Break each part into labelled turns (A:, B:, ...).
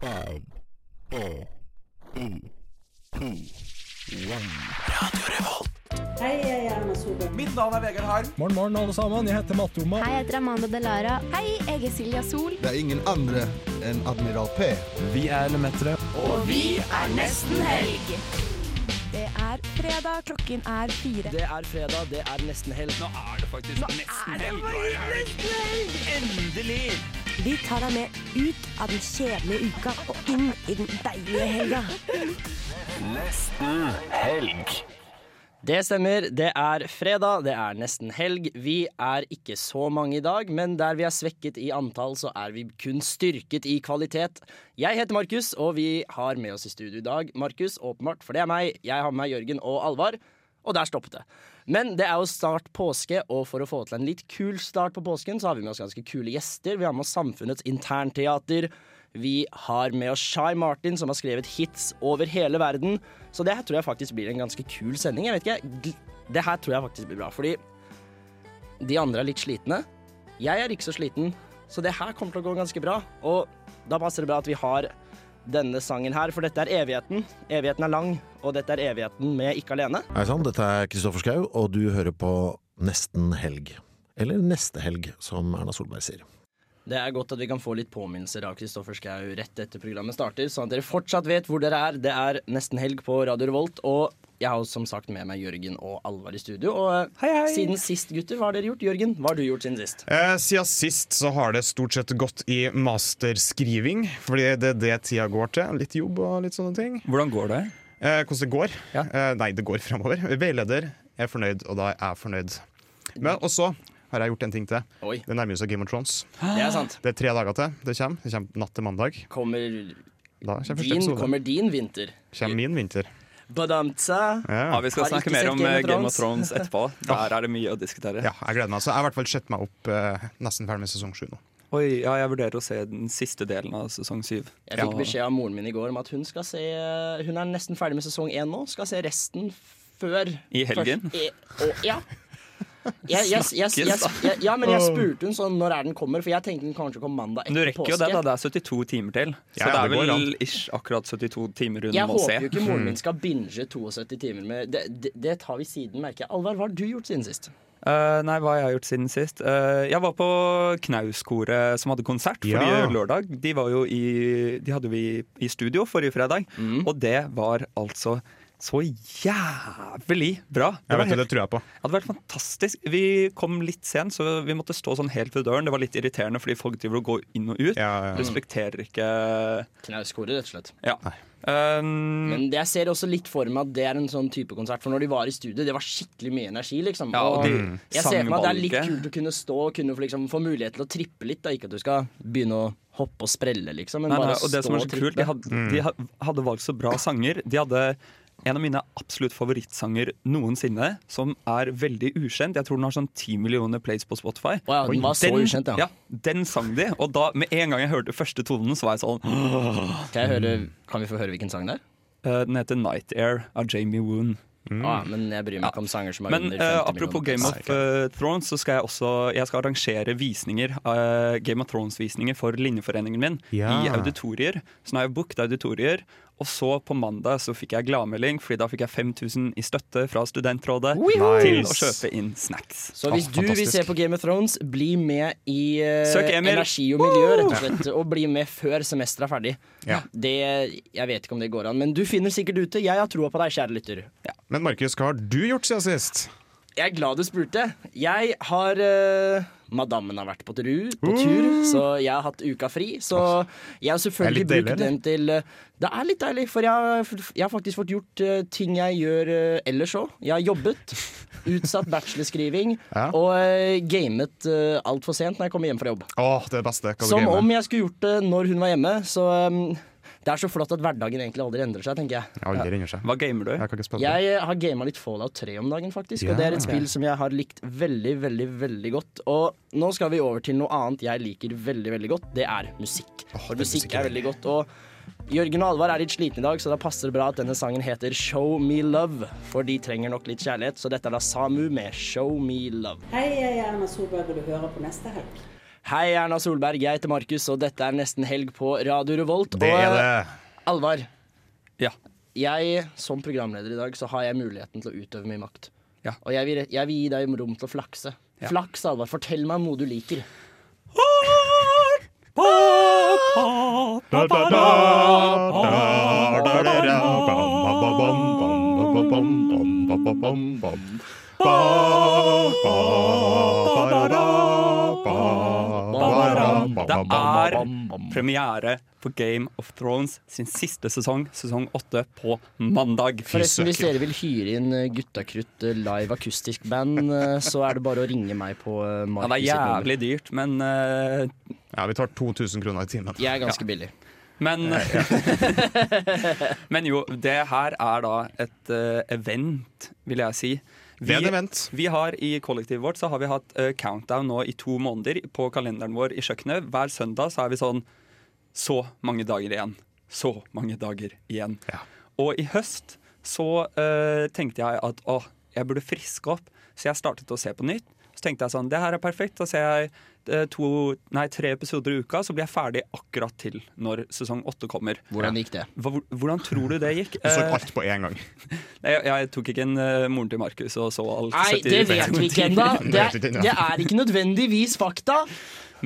A: Five, four, three, two, one.
B: Hei, jeg er Erna Solberg.
C: Mitt navn er Vegard Harm.
D: Morgen, morgen, alle sammen. Jeg heter Matte Oma.
E: Hei, jeg heter Amanda Delara. Hei, jeg er Silja Sol.
F: Det er ingen andre enn Admiral P.
D: Vi er Lemetere.
E: Det er fredag, klokken er fire.
C: Det er fredag, det er nesten helg. Nå er det faktisk nesten helg. Endelig!
G: Vi tar deg med ut av den kjedelige uka og inn i den deilige helga.
C: Det stemmer. Det er fredag, det er nesten helg. Vi er ikke så mange i dag, men der vi er svekket i antall, så er vi kun styrket i kvalitet. Jeg heter Markus, og vi har med oss i studio i dag Markus, åpenbart, for det er meg. Jeg har med meg Jørgen og Alvar. Og der stoppet det. Men det er jo snart påske, og for å få til en litt kul start på påsken, så har vi med oss ganske kule gjester. Vi har med oss Samfunnets internteater. Vi har med oss Shai Martin, som har skrevet hits over hele verden. Så det her tror jeg faktisk blir en ganske kul sending. Jeg vet ikke, gl- Det her tror jeg faktisk blir bra, fordi de andre er litt slitne. Jeg er ikke så sliten, så det her kommer til å gå ganske bra. Og da passer det bra at vi har denne sangen her, for dette er evigheten. Evigheten er lang, og dette er evigheten med Ikke alene.
H: Hei sann, dette er Kristoffer Schau, og du hører på Nesten helg. Eller Neste helg, som Erna Solberg sier.
C: Det er godt at vi kan få litt påminnelser av Kristoffer Schau rett etter programmet starter, sånn at dere fortsatt vet hvor dere er. Det er nesten helg på Radio Revolt, og jeg har jo som sagt med meg Jørgen og Alvar i studio. Og eh, siden sist, gutter, hva har dere gjort? Jørgen, hva har du gjort siden sist?
I: Eh, Siden sist så har det stort sett gått i masterskriving, fordi det er det tida går til. Litt jobb og litt sånne ting.
J: Hvordan går det?
I: Eh, hvordan det går?
J: Ja.
I: Eh, nei, det går framover. Veileder er fornøyd, og da er jeg fornøyd. Men også har jeg gjort en ting til.
C: Oi,
I: Det nærmer seg Game of Thrones.
C: det er sant.
I: Det er tre dager til. Det kommer, det kommer natt til mandag.
C: Kommer
I: Da kommer første
C: din,
I: episode. Kommer,
C: kommer din vinter.
I: min vinter.
C: Badamtsa.
J: Ja,
I: Ja.
J: vi skal
C: Har ikke
J: snakke mer
C: sett
J: om
C: Game
J: eh,
C: of
J: Game of
C: Thrones.
J: Thrones etterpå. Der er det mye å diskutere.
I: ja, jeg gleder meg. Så jeg har i hvert fall sett meg opp eh, nesten ferdig med sesong sju nå.
J: Oi, ja, jeg vurderer å se den siste delen av sesong syv.
C: Jeg fikk
J: Og-
C: beskjed av moren min i går om at hun skal se Hun er nesten ferdig med sesong én nå. Skal se resten før
J: I helgen?
C: først- i- og, ja. Jeg, jeg, jeg, jeg, jeg, jeg, ja, men jeg spurte hun sånn når er den kommer, for jeg tenkte den kanskje kom mandag
J: Men Du
C: etter
J: rekker jo
C: påske.
J: det, da. Det er 72 timer til. Så
I: Ja,
J: det er
I: det går
J: vel ish akkurat 72 timer hun
C: Jeg
J: må
C: håper
J: se.
C: jo ikke moren min skal binge 72 timer med Det, det, det tar vi siden, merker jeg. Alvar, hva har du gjort siden sist?
J: Eh, nei, hva har jeg gjort siden sist? Eh, jeg var på Knauskoret som hadde konsert
I: Ja.
J: forrige lørdag. De, var jo i, de hadde vi i studio forrige fredag,
C: Mm.
J: og det var altså så jævlig bra. Det,
I: Jeg
J: var
I: vet,
J: helt,
I: jo, det tror jeg på.
J: det hadde vært fantastisk. Vi kom litt sent, så vi måtte stå sånn helt ved døren. Det var litt irriterende fordi folk driver og går inn og ut.
I: Ja, ja, ja.
J: Respekterer ikke
C: Knauskoret, rett og slett.
J: Ja. Um,
C: Men det jeg ser også litt for meg at det er en sånn type konsert. For når de var i studio, det var skikkelig mye energi, liksom.
J: Ja, og de
C: jeg ser for meg at det er litt
J: sangvalget.
C: kult å kunne stå og kunne få liksom, få mulighet til å trippe litt. Da. Ikke at du skal begynne å hoppe og sprelle, liksom. Men
J: Nei, nei,
C: bare
J: og det
C: stå
J: som er så
C: og trippe.
J: kult, de hadde,
I: Mm.
J: de ha- hadde valgt så bra sanger. De hadde en av mine absolutt favorittsanger noensinne, som er veldig ukjent. Jeg tror den har sånn 10 millioner plays på Spotify.
C: Å ja, den
J: Og
C: var så ukjent, ja.
J: ja. Den sang de, og da med en gang jeg hørte første tonen, så var jeg sånn
C: Kan, jeg høre, kan vi få høre hvilken sang det er?
J: «Øh, Den heter Night Air av Jamie Woon.
C: Ah, men jeg bryr meg ikke om sanger som er
J: Mm. Men
C: under 50
J: eh,
C: millioner.
J: apropos Game of eh, Thrones, så skal jeg også Jeg skal arrangere visninger eh, Game of Thrones-visninger for linjeforeningen min
I: Ja.
J: i auditorier. Så nå har jeg booket auditorier. Og så på mandag så fikk jeg gladmelding, Fordi da fikk jeg 5000 i støtte fra studentrådet til å kjøpe inn snacks.
C: Så hvis du
I: Ah,
C: vil
I: fantastisk.
C: se på Game of Thrones, bli med i eh,
J: Søk Emil.
C: energi og miljø, rett og slett. Og bli med før semesteret er ferdig.
I: Ja.
C: Det, jeg vet ikke om det går an, men du finner sikkert ute. Jeg har troa på deg, kjære lytter.
I: Men Markus, hva har du gjort siden sist?
C: Jeg er glad du spurte. Jeg har eh, Madammen har vært på, tru, på tur, så jeg har hatt uka fri. Så jeg har selvfølgelig
I: Uh. Det er litt deilig,
C: brukt den til eh, Det er litt deilig, for jeg, har- jeg har faktisk fått gjort eh, ting jeg gjør eh, ellers òg. Jeg har jobbet, utsatt bachelorskriving
I: Ja.
C: og eh, gamet uh, altfor sent når jeg kommer hjem fra jobb.
I: Åh, det er det beste. Hva du
C: Som
I: gamer.
C: om jeg skulle gjort det når hun var hjemme. Så eh, det er så flott at hverdagen egentlig aldri endrer seg, tenker jeg.
I: Jeg aldri ringer seg.
J: Hva gamer du?
I: Jeg kan ikke spille
C: Jeg eh, har gama litt Fallout 3 om dagen, faktisk. Og det er et spill som jeg har likt veldig, veldig veldig godt. Og nå skal vi over til noe annet jeg liker veldig, veldig godt. Det er musikk. For musikk er veldig godt. Og Jørgen og Alvar er litt slitne i dag, så da passer det bra at denne sangen heter Show Me Love. For de trenger nok litt kjærlighet, så dette er da Samu med Show Me Love.
B: Hei, jeg er Erna Solberg, og du hører på neste helg.
C: Hei, Erna Solberg. Jeg heter Markus, og dette er Nesten helg på Radio Revolt.
I: Det er
C: Og, eh,
I: det.
C: Alvar,
J: Ja.
C: jeg som programleder i dag, så har jeg muligheten til å utøve min makt.
J: Ja.
C: Og jeg vil, jeg vil gi deg rom til å flakse.
J: Ja.
C: Flaks, Alvar. Fortell meg om noe du liker.
J: Det er premiere på Game of Thrones sin siste sesong, sesong åtte, på mandag.
C: Forresten, Hvis
I: søker.
C: dere vil hyre inn eh, Guttakrutt eh, live akustisk band, eh, så er det bare å ringe meg på eh,
J: Ja, det
C: Markus.
J: er
C: sitt nummer.
J: jævlig dyrt, men eh,
I: Ja, vi tar 2000 kroner i timen.
C: Jeg er ganske billig.
J: Men, men jo, det her er da et eh, event, vil jeg si.
I: Det er et event.
J: vi har I kollektivet vårt så har vi hatt eh, countdown nå i to måneder på kalenderen vår i kjøkkenet. Hver søndag så er vi sånn Så mange dager igjen. Så mange dager igjen.
I: Ja.
J: Og i høst så eh, tenkte jeg at å, jeg burde friske opp, så jeg startet å se på nytt. Så tenkte jeg sånn, det her er perfekt. Da ser jeg eh, to, nei, tre episoder i uka, så blir jeg ferdig akkurat til når sesong åtte kommer.
C: Hvordan gikk det?
J: Hva, hvordan tror du det gikk?
I: Du så
J: Eh,
I: alt på en gang.
J: jeg, jeg tok ikke en eh, moren til Markus og så alt.
C: Nei,
J: 70
C: det vet vi ikke ennå. Det,
I: vet vi ikke ennå.
C: det er ikke nødvendigvis fakta.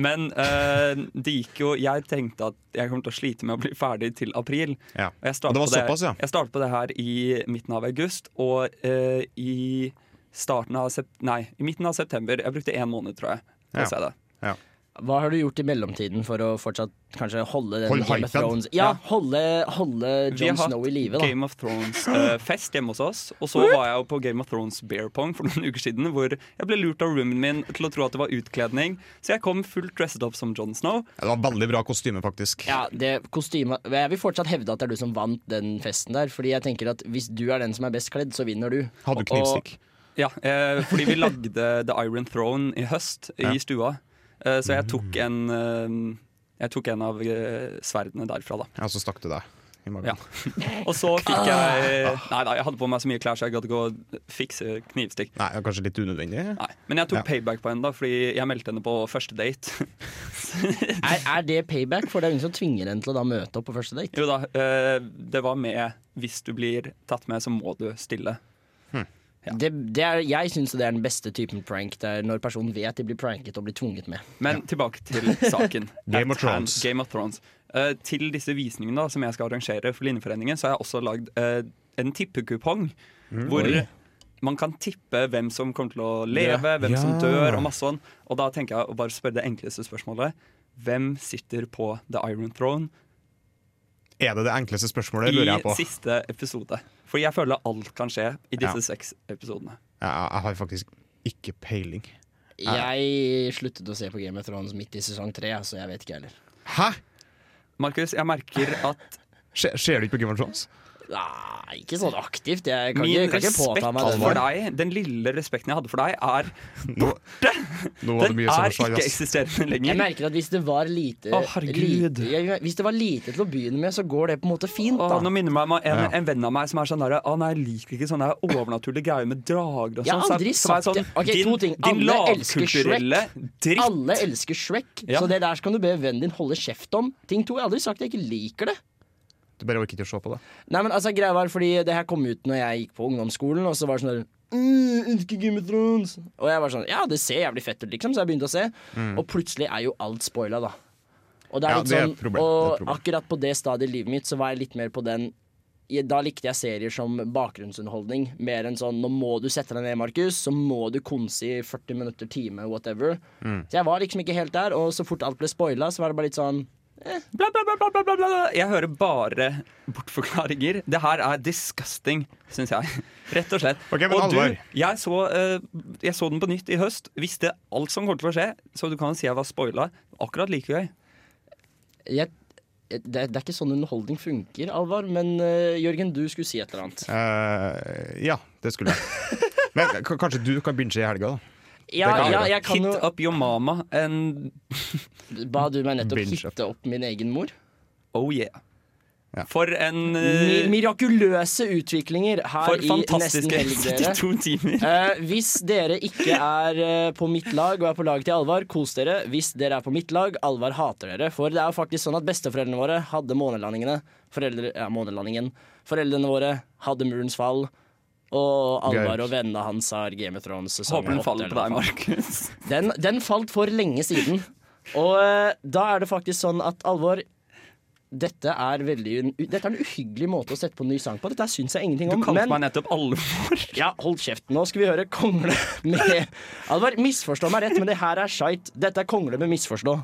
J: Men eh, det gikk jo Jeg tenkte at jeg kommer til å slite med å bli ferdig til april.
I: Ja.
J: Og jeg startet,
I: Og det var
J: på det,
I: såpass, ja.
J: jeg startet på det her i midten av august, og eh, i starten av sep Nei, i midten av september. Jeg brukte én måned, tror jeg. på
I: Ja.
J: å se det.
I: Ja.
C: Hva har du gjort i mellomtiden for å fortsatt kanskje holde den
I: Hold
C: Game of
I: hypen.
C: Thrones Ja, holde, holde
J: Vi
C: John
J: har hatt
C: Snow i live, da.
J: Game of Thrones-fest hjemme hos oss. Og så var jeg jo på Game of Thrones beer pong for noen uker siden, hvor jeg ble lurt av roomien min til å tro at det var utkledning. Så jeg kom fullt dresset opp som Jon Snow.
I: Ja, Det var veldig bra kostyme, faktisk.
C: Ja, det kostymet Jeg vil fortsatt hevde at det er du som vant den festen der. Fordi jeg tenker at hvis du er den som er best kledd, så vinner du.
I: Hadde du knivstikk?
J: Ja, eh, fordi vi lagde The Iron Throne i høst
I: Ja. Mm.
J: i stua. Eh, så jeg tok en eh, Jeg tok en av eh, sverdene derfra, da.
I: Ja, så stakk du deg i
J: Ja.
I: magen.
J: Og så fikk jeg
I: Ah.
J: Nei, nei, jeg hadde på meg så mye klær, så jeg gadd ikke å fikse knivstikk.
I: Nei, det var kanskje litt unødvendig.
J: Nei. Men jeg tok
I: Ja.
J: payback på henne, da, fordi jeg meldte henne på første date.
C: Er, er det payback? For det er ingen som tvinger en til å da møte opp på første date.
J: Jo da, eh, det var med 'hvis du blir tatt med, så må du stille'. Ja.
C: Det, det er, jeg syns det er den beste typen prank. Det er når personen vet de blir pranket og blir tvunget med.
J: Men tilbake til saken.
I: Game of
J: At
I: Thrones.
J: hand- Game of Thrones. Eh, til disse visningene da, som jeg skal arrangere for Linjeforeningen, så har jeg også lagd eh, en tippekupong.
I: Mm.
J: hvor man kan tippe hvem som kommer til å leve, hvem som
I: Ja.
J: dør, og masse sånn. Og da tenker jeg å bare spørre det enkleste spørsmålet. Hvem sitter på The Iron Throne
I: Er det det enkleste spørsmålet, lurer jeg
J: i
I: på?
J: siste episode? Fordi jeg føler alt kan skje i disse
I: Ja.
J: seks episodene.
I: Ja, jeg har faktisk ikke peiling.
C: Jeg sluttet å se på Game of Thrones midt i sesong tre, så jeg vet ikke heller.
I: Hæ?
J: Markus, jeg merker at
I: Skje- Ser du ikke på Game of Thrones?
C: Nei, ikke sånn aktivt. Jeg kan,
J: min
C: ikke, kan ikke
J: respekt
C: påta meg den.
J: for deg, den lille respekten jeg hadde for deg, er
I: Nå, nå var det
J: Den
I: mye
J: er
I: sommerslag,
J: ikke
I: ass.
J: eksisterende
C: Jeg
J: lenger.
C: merker at hvis det var lite,
J: Å, herregud.
C: lite jeg, Hvis det var lite til å begynne med, så går det på en måte fint.
J: Å,
C: Da.
J: nå minner meg om en,
I: Ja.
J: en venn av meg som er sånn der Å nei, jeg liker ikke sånne her overnaturlige greier med drager og sånn.
C: Jeg har
J: Så
C: aldri
J: så er jeg
C: sagt det. Ok,
J: din,
C: to ting.
J: Din
C: Alle elsker
J: lavkulturelle dritt.
C: Alle elsker Shrek,
J: Ja.
C: så det der skal du be vennen din holde kjeft om. Ting to, Jeg har aldri sagt jeg ikke liker det.
I: Du bare orker ikke å se på det.
C: Nei, men altså, greia var fordi Det her kom ut når jeg gikk på ungdomsskolen, og så var det sånn der, «Mm, elsker Game of Thrones. Og jeg var sånn Ja, det ser jævlig fett ut, liksom, så jeg begynte å se. Og plutselig er jo alt spoila, da. Og det er
I: Mm. Ja,
C: litt
I: det er
C: sånn
I: et problem. Det er et
C: Og
I: problem.
C: akkurat på det stadiet i livet mitt så var jeg litt mer på den jeg- da likte jeg serier som bakgrunnsunderholdning. Mer enn sånn 'nå må du sette deg ned, Markus', så må du konse i 40 minutter, time, whatever.
I: Mm.
C: Så jeg var liksom ikke helt der, og så fort alt ble spoila, så var det bare litt sånn
J: Bla, bla, bla, bla, bla, bla, bla. Jeg hører bare bortforklaringer. Det her er disgusting, syns jeg. Rett og slett.
I: Ok, men
J: og
I: alvor.
J: jeg, så, eh, jeg så den på nytt i høst. Visste alt som kommer til å skje, så du kan si jeg var spoila. Akkurat like gøy.
C: jeg, det, det er ikke sånn underholdning funker, Alvar, men eh, Jørgen, du skulle si et eller annet.
I: Eh, ja, det skulle jeg. Men k- kanskje du kan binge i helga, da?
C: Ja,
I: kan jeg
C: ja
I: gjøre.
C: jeg kan
J: Hit
C: jo
J: up your mama and
C: Ba du meg nettopp
I: Binge up.
C: hitte opp min egen mor?
J: oh yeah. For en
C: Mi
J: eh,
C: mirakuløse utviklinger her
J: For
C: i Nesten
J: fantastiske
C: Helg, dere.
J: 72 timer.
C: Eh, hvis dere ikke er eh, på mitt lag og er på laget til Alvar, kos dere. Hvis dere er på mitt lag, Alvar hater dere. For det er jo faktisk sånn at besteforeldrene våre hadde månelandingene. Foreldre, ja, månelandingen. Foreldrene våre hadde murens fall. Og Alvar
I: Gøy.
C: og vennene hans har Game of Thrones sesong
J: Håper den
C: åtte,
J: faller
C: eller
J: på
C: hva
J: deg,
C: faen.
J: Markus.
C: Den, den falt for lenge siden. Og eh, da er det faktisk sånn at alvor dette er, veldig, en- dette er en uhyggelig måte å sette på en ny sang på. Dette her syns jeg ingenting
J: Du
C: om.
J: kalte meg
C: Men
J: nettopp alvor.
C: ja, hold kjeft. Nå skal vi høre Kongle med Alvor, misforstå meg rett, men det her er shite. Dette er Kongle med misforstå.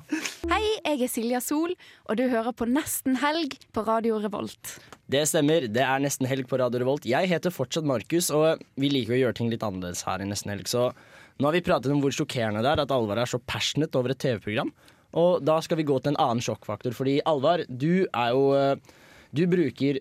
E: Hei, jeg er Silja Sol, og du hører på Nesten helg på Radio Revolt.
C: Det stemmer. Det er nesten helg på Radio Revolt. Jeg heter fortsatt Markus, og vi liker å gjøre ting litt annerledes her i Nesten helg, så nå har vi pratet om hvor sjokkerende det er at Alvar er så passionate over et TV-program. Og da skal vi gå til en annen sjokkfaktor, fordi Alvar, du er jo eh, Du bruker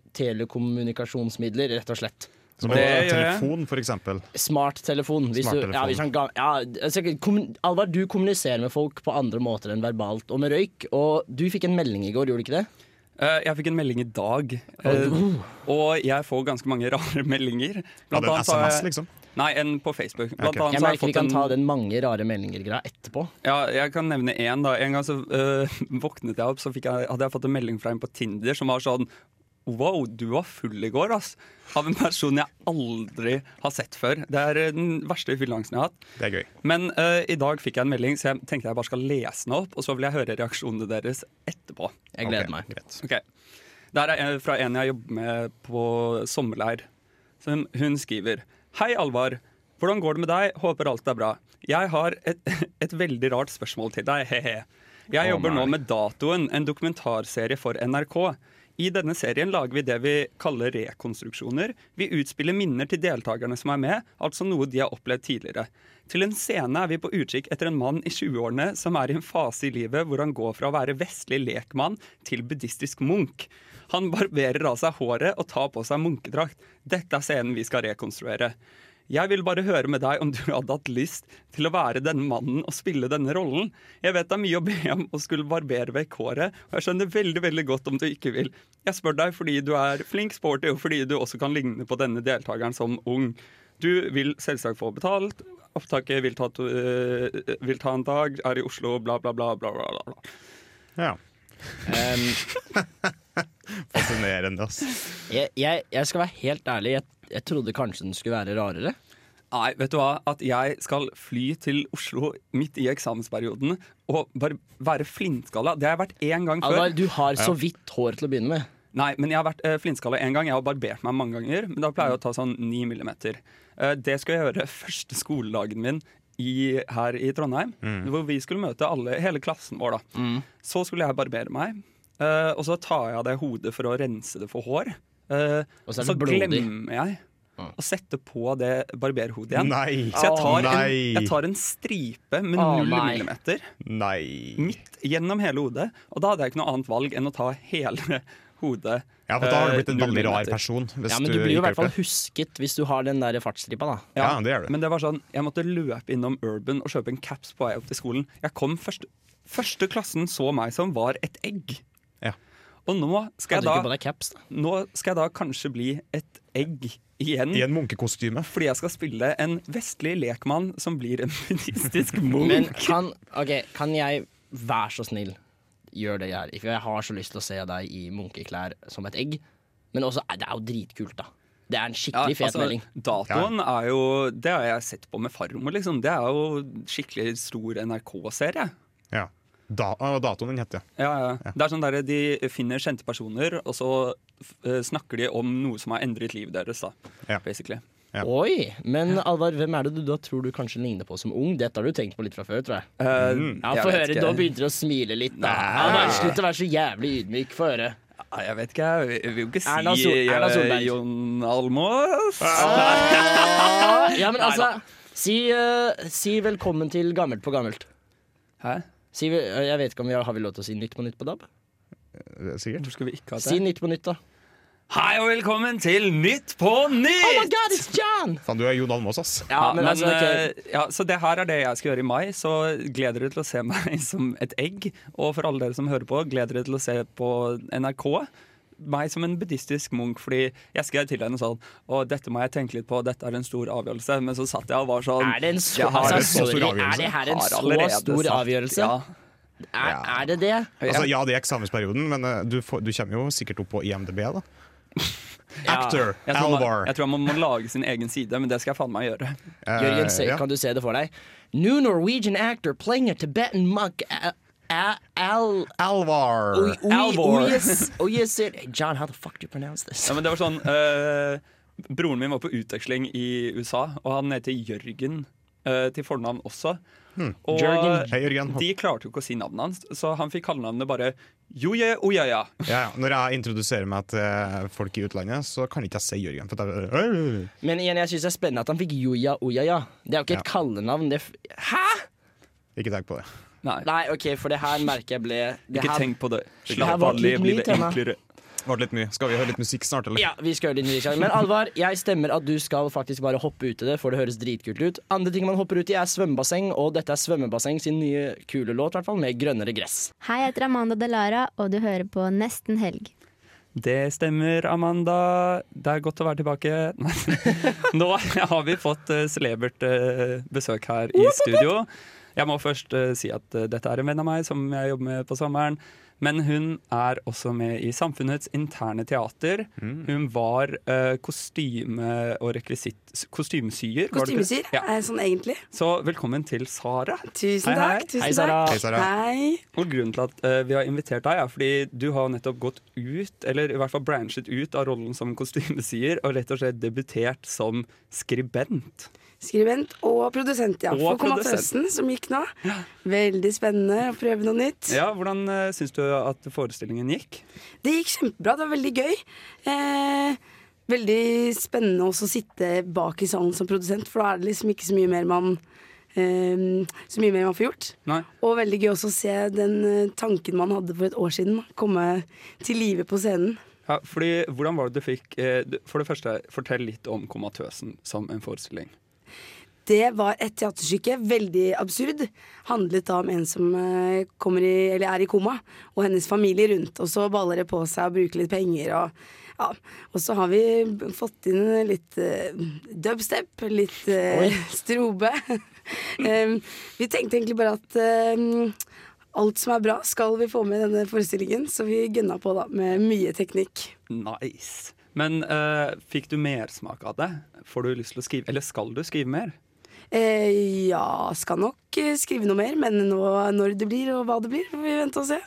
C: telekommunikasjonsmidler, rett og slett.
I: Som
J: Det
I: det,
J: gjør jeg.
I: telefon, for eksempel.
C: Smarttelefon. Hvis du,
I: Smarttelefon.
C: ja, hvis han ga, ja, altså, kommun- Alvar, du kommuniserer med folk på andre måter enn verbalt og med røyk, og du fikk en melding i går, gjorde du ikke det?
J: Eh, Jeg fikk en melding i dag, eh, og jeg får ganske mange rare meldinger.
I: Ja, det er
J: så har
I: SMS,
J: jeg-
I: liksom.
J: Nei, en på Facebook.
I: Ok.
J: Blant annet
C: Jeg
J: så har
C: merker
J: jeg
C: vi
J: fått
C: kan
J: en
C: ta den mange rare meldinger-greia etterpå.
J: Ja, jeg kan nevne én. da En gang så øh, våknet jeg opp, så fikk jeg, hadde jeg fått en melding fra en på Tinder som var sånn Wow, du var full i går, ass. Av en person jeg aldri har sett før. Det er øh, den verste fylleangsten jeg har hatt.
I: Det er gøy.
J: Men øh, i dag fikk jeg en melding, så jeg tenkte jeg bare skal lese den opp, og så vil jeg høre reaksjonene deres etterpå.
C: Jeg gleder
I: Ok,
C: meg.
I: Greit.
J: Ok. Der er en fra en jeg jobber med på sommerleir. Som hun skriver Hei, Alvar. Hvordan går det med deg? Håper alt er bra. Jeg har et, et veldig rart spørsmål til deg, he-he. Jeg jobber nå med Datoen, en dokumentarserie for NRK. I denne serien lager vi det vi kaller rekonstruksjoner. Vi utspiller minner til deltakerne som er med, altså noe de har opplevd tidligere. Til en scene er vi på utkikk etter en mann i 20-årene som er i en fase i livet hvor han går fra å være vestlig lekmann til buddhistisk munk. Han barberer av seg håret og tar på seg munkedrakt. Dette er scenen vi skal rekonstruere. Jeg vil bare høre med deg om du hadde hatt lyst til å være denne mannen og spille denne rollen. Jeg vet det er mye å be om å skulle barbere vekk håret, og jeg skjønner veldig veldig godt om du ikke vil. Jeg spør deg fordi du er flink, sporty, og fordi du også kan ligne på denne deltakeren som ung. Du vil selvsagt få betalt. Opptaket vil ta, to, øh, vil ta en dag, er i Oslo, bla, bla, bla. bla, bla, bla.
I: Ja.
C: Um,
I: Fascinerende, ass.
C: Jeg, jeg, jeg skal være helt ærlig, jeg, jeg trodde kanskje den skulle være rarere.
J: Nei, vet du hva? At jeg skal fly til Oslo midt i eksamensperioden og bare være flintskalla. Det har jeg vært én gang før.
C: Alvar, du har så vidt hår til å begynne med.
J: Nei, men jeg har vært eh, flintskalla én gang. Jeg har barbert meg mange ganger, men da pleier jeg å ta sånn 9 millimeter. Eh, det skulle jeg gjøre første skoledagen min i, her i Trondheim,
C: Mm.
J: hvor vi skulle møte alle, hele klassen vår. da. Så skulle jeg barbere meg, eh, og så tar jeg av det hodet for å rense det for hår. Eh,
C: Og så er
J: så
C: det blodig.
J: glemmer jeg å sette på det barberhodet igjen.
I: Nei.
J: Så jeg tar, en,
I: Nei.
J: jeg tar en stripe med
C: Å,
J: null
C: nei.
J: millimeter
I: Nei.
J: midt gjennom hele hodet. Og da hadde jeg ikke noe annet valg enn å ta hele hodet.
I: Ja, for da har du
J: eh,
I: blitt en
J: null
I: veldig rar
J: millimeter.
I: person. Hvis
C: Ja, Men du blir jo i
I: ikke
C: hvert fall
I: har gjort
C: husket hvis du har den der fartsstripa, da.
I: Ja, det gjør du.
J: Men det var sånn, jeg måtte løpe innom Urban og kjøpe en caps på vei opp til skolen. Jeg kom først, Første klassen så meg som var et egg.
I: Ja.
J: Og nå skal,
C: Hadde du
J: jeg
C: ikke på
J: da,
C: deg caps, da?
J: nå skal jeg da kanskje bli et egg igjen.
I: I en munkekostyme.
J: Fordi jeg skal spille en vestlig lekmann som blir en buddhistisk
C: Men
J: munk.
C: kan, ok, kan jeg, vær så snill, gjør det her. For jeg har så lyst til å se deg i munkeklær som et egg. Men også, det er jo dritkult, da. Det er en
J: Ja,
C: skikkelig fet
J: altså,
C: melding.
J: Datoen er jo Det har jeg sett på med farmor, liksom. Det er jo skikkelig stor NRK-serie.
I: Ja. Da, og datoen den heter
J: Ja, ja. Det er sånn der, De finner kjente personer, og så eh, snakker de om noe som har endret livet deres. da,
I: Ja.
J: basically.
I: Ja.
C: Oi! Men Alvar, hvem er det du da tror du kanskje ligner på som ung? Dette har du tenkt på litt fra før, tror jeg.
J: Eh,
C: Ja,
J: jeg
C: Få
J: vet
C: høre,
J: ikke.
C: nå begynte du å smile litt, da.
J: Nei.
C: Alvar, slutt å være så jævlig ydmyk. Få høre.
J: Nei, Jeg vet ikke, jeg vil- jeg vil jo ikke si
C: Erna Sol- Erna
J: eh,
C: Solberg. Ah.
J: Jon Almaas.
C: Ja, men altså si, eh, si velkommen til Gammelt på gammelt.
J: Hæ?
C: Si, vel- eh, jeg vet ikke om vi har, har vi lov til å si Nytt på nytt på DAB?
I: det. Sikkert.
J: Hvorfor skulle vi ikke ha det?
C: Si Nytt på nytt, da.
J: Hei og velkommen til Nytt på
C: Oh my
J: nytt!
C: god, it's John!
I: Faen, du er Jon Almaas, ass.
J: Ja, men,
C: altså, ok.
J: eh, ja, så det her er det jeg skal gjøre i mai. Så gleder dere til å se meg som et egg. Og for alle dere som hører på, gleder dere til å se på NRK. meg som en buddhistisk munk, fordi jeg skrev til henne sånn Å, dette må jeg tenke litt på, dette er en stor avgjørelse. Men så satt jeg og var sånn
C: Er det en så,
J: «Jeg har
C: altså,
J: en
I: så stor
C: sorry,
I: avgjørelse?
C: Er det her en
J: har
C: så
J: allerede
C: stor
J: sagt
C: avgjørelse?
J: Ja.
C: Er, er det det?
I: Altså, ja, det er eksamensperioden, men eh, du, får, du kommer jo sikkert opp på IMDb, da.
C: Ja.
I: Actor,
J: Jeg tror, man,
I: Alvar.
J: jeg tror man må lage sin egen side, men det skal jeg faen meg gjøre.
I: Eh,
C: Jørgen, se,
I: ja.
C: kan du se det for deg? New Norwegian actor playing a Tibetan monk a, a, al,
I: Alvar.
C: oi, oi,
J: Alvor.
C: oi, yes, oi, yes, it, John, how the fuck do you pronounce this?
J: Ja, men det var sånn eh, Broren min var på utveksling i USA, og han heter Jørgen eh, til fornavn også. Og
C: Jørgen.
I: Hei, Hmm. Jørgen.
J: de klarte jo ikke å si navnet hans, så han fikk kallenavnet bare Joje Ojaja.
I: Ja, ja. Når jeg introduserer meg til eh, folk i utlandet, så kan ikke jeg si Jørgen. For at jeg,
C: Men igjen, jeg synes det er spennende at han fikk Joja Ojaja. Det er jo ikke et kallenavn. Det f Hæ?!
I: ikke tenk på det.
J: Nei,
C: Nei, OK, for det her merker jeg ble det
J: ikke
C: her,
J: tenk på det.
C: her
J: Slapp
C: var
J: av, lev
C: litt mye
J: livet
C: til meg.
J: enklere.
I: Det ble litt mye. Skal vi høre litt musikk snart, eller?
C: Ja, vi skal gjøre det i Nysgjerrig. Men Alvar, jeg stemmer at du skal faktisk bare hoppe ut i det, for det høres dritkult ut. Andre ting man hopper ut i, er svømmebasseng, og dette er svømmebasseng sin nye kule låt, i hvert fall, med grønnere gress.
K: Hei, jeg heter Amanda Delara, og du hører på Nesten helg.
J: Det stemmer, Amanda. Det er godt å være tilbake. Nei. Nå har vi fått eh, celebert eh, besøk her i studio. Jeg må først eh, si at eh, dette er en venn av meg som jeg jobber med på sommeren. Men hun er også med i Samfunnets interne teater. Hun var eh, kostyme- og rekvisitt... Kostymesyer. var det ikke det?
B: Kostymesyr
J: Ja.
B: er sånn egentlig.
J: Så velkommen til Sara.
B: Tusen
J: Hei, hei.
B: takk. Tusen
C: Hei, Sara.
B: takk.
I: Hei, Sara.
B: Hei.
J: Og grunnen til at eh, vi har invitert deg, er fordi du har nettopp gått ut, eller i hvert fall branchet ut av rollen som kostymesier, og rett og slett debutert som skribent.
B: Skribent og produsent, ja.
J: Og
B: For
J: produsent.
B: Komatøsen, som gikk nå. Veldig spennende å prøve noe nytt.
J: Ja, Hvordan uh, syns du at forestillingen gikk?
B: Det gikk kjempebra. Det var veldig gøy. Eh, veldig spennende også å sitte bak i salen som produsent, for da er det liksom ikke så mye mer man eh, Så mye mer man får gjort.
J: Nei.
B: Og veldig gøy også å se den eh, tanken man hadde for et år siden, komme til live på scenen.
J: Ja, fordi, hvordan var det du fikk eh, du- For det første, fortell litt om Komatøsen som en forestilling.
B: Det var et teaterstykke, veldig absurd. Handlet da om en som eh, kommer i, eller er i koma, og hennes familie rundt. Og så baller det på seg og bruker litt penger og ja. Og så har vi b- fått inn litt eh, dubstep, litt eh, strobe. Em, vi tenkte egentlig bare at em, alt som er bra, skal vi få med i denne forestillingen. Så vi gønna på da med mye teknikk.
J: Nice. Men eh, fikk du mersmak av det? Får du lyst til å skrive, eller skal du skrive mer?
B: Eh, ja, skal nok eh, skrive noe mer, men nå, når det blir og hva det blir, får vi vente og se.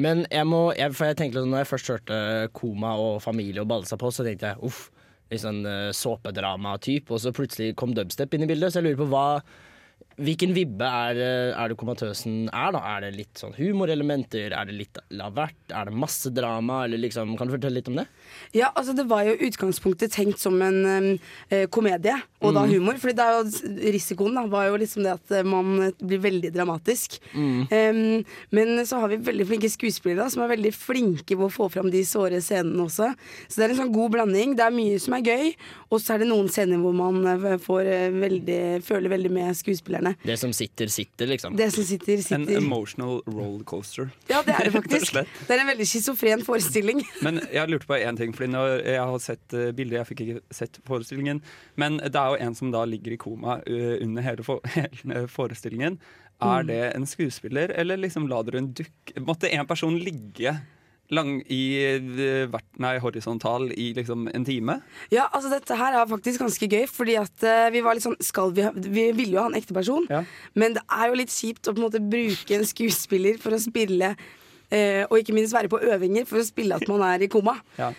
C: Men jeg må, jeg, for jeg tenkte at når jeg først hørte koma og familie og balle seg på, så tenkte jeg uff, litt sånn eh, såpedrama-typ, og så plutselig kom dubstep inn i bildet, så jeg lurer på hva Hvilken vibbe er, eh, er det komatøsen er, da? Er det litt sånn humorelementer? Er det litt la vært? Er det masse drama? Eller liksom, kan du fortelle litt om det?
B: Ja, altså Det var jo i utgangspunktet tenkt som en eh, komedie, og
J: Mm.
B: da humor. Fordi det er jo risikoen da, var jo liksom det at eh, man blir veldig dramatisk.
J: Mm.
B: Em, men så har vi veldig flinke skuespillere som er veldig flinke på å få fram de såre scenene også. Så det er en sånn god blanding. Det er mye som er gøy, og så er det noen scener hvor man eh, får eh, veldig, føler veldig med skuespillerne.
C: Det som sitter, sitter, liksom.
B: Det som sitter,
J: En
B: sitter.
J: emotional rollercoaster.
B: Ja, det er
J: Rett
B: det
J: og
B: faktisk.
J: slett.
B: Det er en veldig schizofren forestilling.
J: Men jeg lurte på én ting, fordi når jeg har sett eh, bilder Jeg fikk ikke sett forestillingen. Men det er jo en som da ligger i koma eh, under hele, for hele forestillingen. Er det en skuespiller, eller liksom la dere en dukke Måtte en person ligge lang i eh, vert- nei, horisontal i liksom en time?
B: Ja, altså dette her er faktisk ganske gøy, fordi at eh, vi var litt sånn skal vi, ha, vi ville jo ha en ekte person,
J: Ja.
B: men det er jo litt kjipt å på en måte bruke en skuespiller for å spille, eh, og ikke minst være på øvinger for å spille at man er i koma.
J: Ja.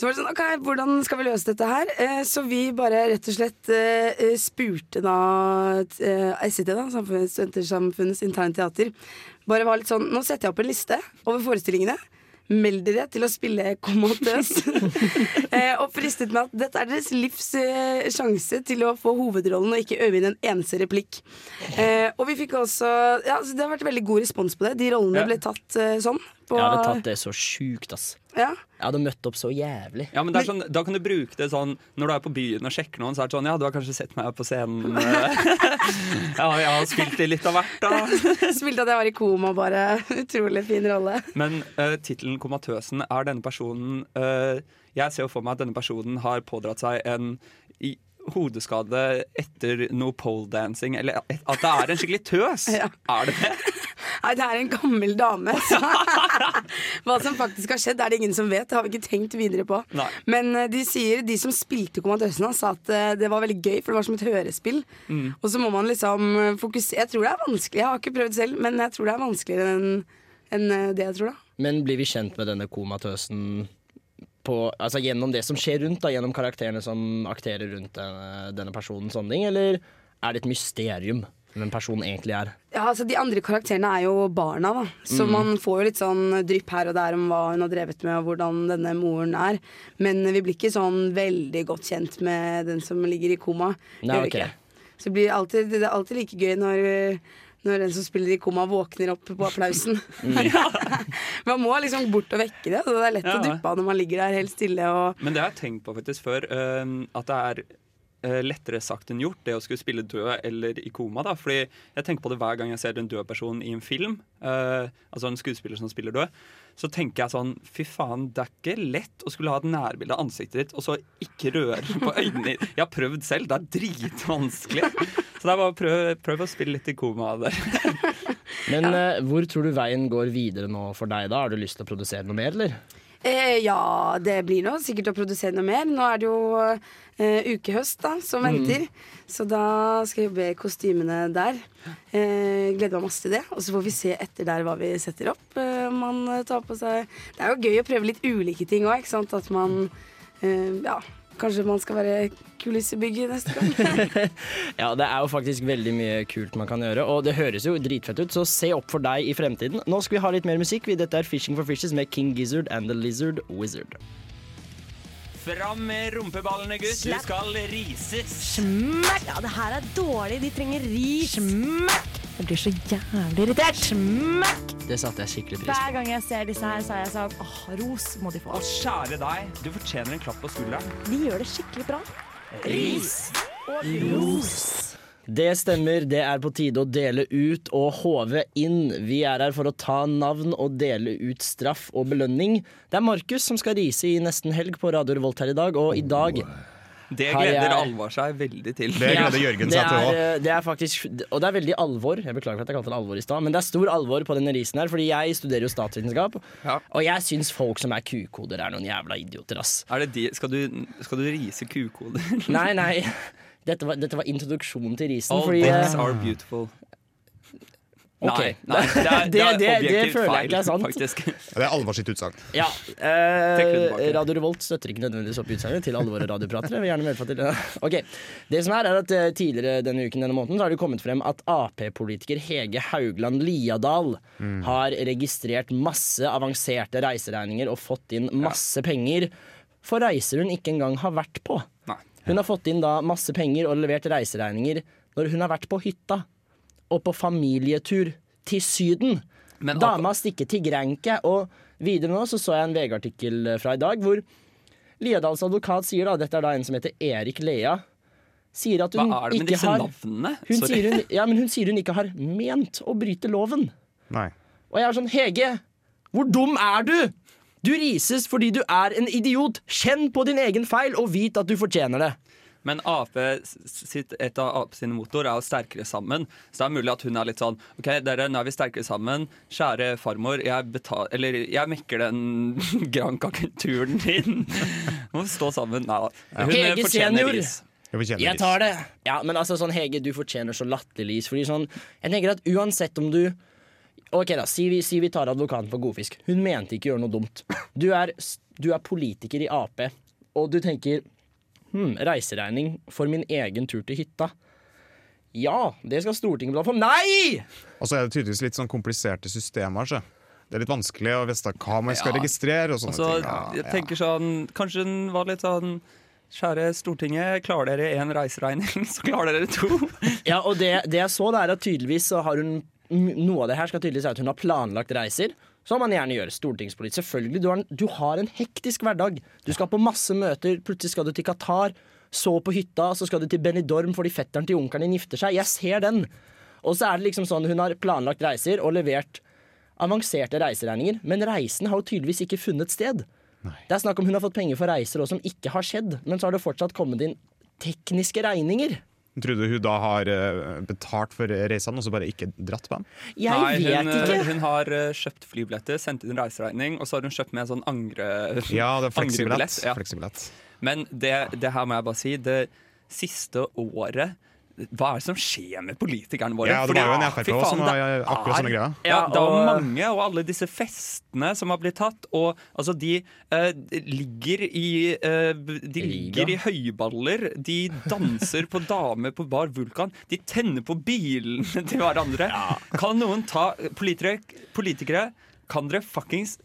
B: Så var det sånn, ok, hvordan skal vi løse dette her? Eh, så vi bare rett og slett eh, eh, spurte da eh, SIT, da, Samfunns- Studentersamfunnets interne teater, bare var litt sånn, nå setter jeg opp en liste over forestillingene. Meld dere til å spille komatøs. eh, og fristet med at dette er deres livs eh, sjanse til å få hovedrollen og ikke øve inn en eneste replikk. Eh, og vi fikk også ja, så Det har vært veldig god respons på det. De rollene
J: Ja.
B: ble tatt eh, sånn. På,
C: Jeg hadde tatt det så sjukt, ass.
B: Ja.
C: Jeg hadde møtt opp så jævlig.
J: Ja, men det er sånn, Da kan du bruke det sånn når du er på byen og sjekker noen. Så er det sånn, ja, du har kanskje sett meg på scenen. eh, ja, jeg har spilt i litt av hvert, da.
B: Spilte at jeg var i koma, bare. Utrolig fin rolle.
J: Men uh, tittelen 'Komatøsen' er denne personen eh, Jeg ser jo for meg at denne personen har pådratt seg en i, hodeskade etter noe poledancing. Eller et- at det er en skikkelig tøs. Er det det?
B: Nei, det er en gammel dame. Så. Hva som faktisk har skjedd, er det ingen som vet. Det har vi ikke tenkt videre på.
J: Nei.
B: Men eh, de sier, de som spilte Komatøsen, hans, sa at eh, det var veldig gøy, for det var som et hørespill.
J: Mm.
B: Og så må man liksom eh, fokusere Jeg tror det er vanskelig. Jeg har ikke prøvd selv, men jeg tror det er vanskeligere enn enn, eh, det jeg tror, da.
C: Men blir vi kjent med denne komatøsen på, altså gjennom det som skjer rundt, da, gjennom karakterene som akterer rundt denne, denne personen, sånne ting, eller er det et mysterium hvem personen egentlig er?
B: Ja, altså De andre karakterene er jo barna, da. så
C: Mm.
B: man får jo litt sånn drypp her og der om hva hun har drevet med og hvordan denne moren er. Men vi blir ikke sånn veldig godt kjent med den som ligger i koma.
C: Nei,
B: Gjør vi
C: ok.
B: ikke. Så det, blir alltid, det er alltid like gøy når, når den som spiller i koma, våkner opp på applausen.
C: Mm.
B: man må liksom bort og vekke det, så det er lett
J: Ja.
B: å dryppe av når man ligger der helt stille og
J: Men det har jeg tenkt på faktisk før, øhm, at det er øh, lettere sagt enn gjort, det å skulle spille død eller i koma. da, fordi jeg tenker på det hver gang jeg ser en død person i en film, øh, altså en skuespiller som spiller død, så tenker jeg sånn Fy faen, det er ikke lett å skulle ha et nærbilde av ansiktet ditt og så ikke røre på øynene dine. Jeg har prøvd selv, det er dritvanskelig. Så det er bare å prøve, prøv å spille litt i koma der.
C: Men eh, hvor tror du veien går videre nå for deg, da? Har du lyst til å produsere noe mer, eller?
B: Eh, ja, det blir nå sikkert å produsere noe mer. Nå er det jo eh, ukehøst da, som
C: Mm.
B: venter. Så da skal jeg jobbe i kostymene der. Eh, gleder meg masse til det. Og så får vi se etter der hva vi setter opp. Eh, om man eh, tar på seg Det er jo gøy å prøve litt ulike ting òg, ikke sant. At man eh, Ja, kanskje man skal være kulissebygger neste gang.
C: Ja, det er jo faktisk veldig mye kult man kan gjøre, og det høres jo dritfett ut, så se opp for deg i fremtiden. Nå skal vi ha litt mer musikk. Vi- Dette er 'Fishing for Fishes' med King Gizzard and The Lizard Wizard.
J: Fram med rumpeballene, gutt. Du
G: Slapp.
J: skal rises.
G: Smakk! Ja, det her er dårlig. De trenger ris. Smakk! Jeg blir så jævlig irritert. Smakk!
C: Det satte jeg skikkelig pris på.
G: Hver gang jeg ser disse her, så er jeg sånn åh, ros må de få.
J: Å, kjære deg, du fortjener en klapp på skulderen.
G: De gjør det skikkelig bra.
J: Ris.
G: Og
C: Det stemmer. Det er på tide å dele ut og håve inn. Vi er her for å ta navn og dele ut straff og belønning. Det er Markus som skal rise i nesten helg på Radio Revolt her i dag, og i dag
J: Det
C: har jeg-
J: gleder Alvar seg veldig til.
C: det er, eh, Det er faktisk, og det er veldig alvor. Jeg beklager for at jeg kalte det alvor i stad, men det er stor alvor på denne risen her, fordi jeg studerer jo statsvitenskap, og jeg syns folk som er kukoder, er noen jævla idioter, ass.
J: Er det de, skal, du, skal du rise kukoder?
C: Nei, nei. Dette var, dette var introduksjonen til risen.
J: All
C: fordi,
J: dicks
C: eh,
J: Sånn are beautiful.
C: Ok.
J: Nei, nei, det er, det er
C: Det- det- det føler jeg
J: objektivt feil,
C: ikke er sant.
J: faktisk.
F: Det er Alvar sitt utsagn.
C: Ja.
F: Trekker det
C: Eh,
F: tilbake.
C: Radio Revolt støtter ikke nødvendigvis opp utsagnet til alvor og radiopratere. Jeg vil gjerne medføre til det. Ok, Det som er, er at eh, tidligere denne uken denne måneden så har det kommet frem at Ap-politiker Hege Haugland Liadal
L: Mm.
C: har registrert masse avanserte reiseregninger og fått inn masse penger for reiser hun ikke engang har vært på. Hun har fått inn da masse penger og levert reiseregninger når hun har vært på hytta og på familietur til Syden. Dama stikker til Grenke. Og videre nå så, så jeg en VG-artikkel eh, fra i dag hvor Liadals advokat sier da, dette er da en som heter Erik Lea, sier at hun
J: Hva er det med
C: ikke
J: disse
C: har
J: navnene?
C: Hun
J: Sorry.
C: sier hun, ja, men hun sier hun ikke har ment å bryte loven. Og jeg er sånn Hege, hvor dum er du? Du rises fordi du er en idiot. Kjenn på din egen feil og vit at du fortjener det.
J: Men AP sitt, et av AP sine motor er jo sterkere sammen. Så det er mulig at hun er litt sånn OK, dere, nå er vi sterkere sammen. Kjære farmor, jeg, betal, eller, jeg mekker den Granca-turen din. Må stå sammen. Nei da. Hun eh,
C: Hege
J: fortjener
C: senior.
J: ris.
C: Jeg tar det. Ja, men altså sånn Hege, du fortjener så latterlig is. Fordi sånn, jeg tenker at uansett om du Ok da, si vi, si vi tar advokaten for godfisk. Hun mente ikke å gjøre noe dumt. Du er, s- du er politiker i Ap, og du tenker Hm, reiseregning for min egen tur til hytta. Ja, det skal Stortinget betale for. Nei!
I: Og så er det tydeligvis litt sånn kompliserte systemer. Så. Det er litt vanskelig å vite hva man skal
J: Ja.
I: registrere og sånne
J: Altså,
I: ting.
J: jeg tenker sånn Kanskje den var litt sånn Kjære Stortinget, klarer dere én reiseregning, så klarer dere to.
C: Ja, og det, det jeg så, det er at tydeligvis så har hun m- Noe av det her skal tydeligvis være at hun har planlagt reiser. Som man gjerne gjør. Stortingspolitisk. Selvfølgelig. Du har, en, du har en hektisk hverdag. Du skal på masse møter. Plutselig skal du til Qatar. Så på hytta, så skal du til Benidorm fordi fetteren til onkelen din gifter seg. Jeg ser den. Og så er det liksom sånn hun har planlagt reiser og levert avanserte reiseregninger. Men reisen har jo tydeligvis ikke funnet sted. Det er snakk om hun har fått penger for reiser også, som ikke har skjedd. Men så har det fortsatt kommet inn tekniske regninger.
I: Trodde hun da har eh, betalt for reisene og så bare ikke dratt på dem?
J: Nei, hun, eh, Hun har eh, kjøpt flybilletter, sendt inn reiseregning, og så har hun kjøpt med en sånn angre,
I: Ja, det er fleksibillett.
J: angrebillett, ja. Men det, det her må jeg bare si, det siste året hva er det som skjer med politikerne våre?
I: Ja, det var jo en FrP
J: Fordi,
I: også
J: fy
I: som
J: faen, det
I: var akkurat
J: er-
I: sånne greier.
J: Ja,
I: Ja,
J: det var
I: og-
J: mange, og alle disse festene som har blitt tatt. Og altså, de eh, ligger i eh, De ligger i høyballer. De danser på damer på bar Vulkan. De tenner på bilene til hverandre. Kan noen ta Politikere, politikere kan dere fuckings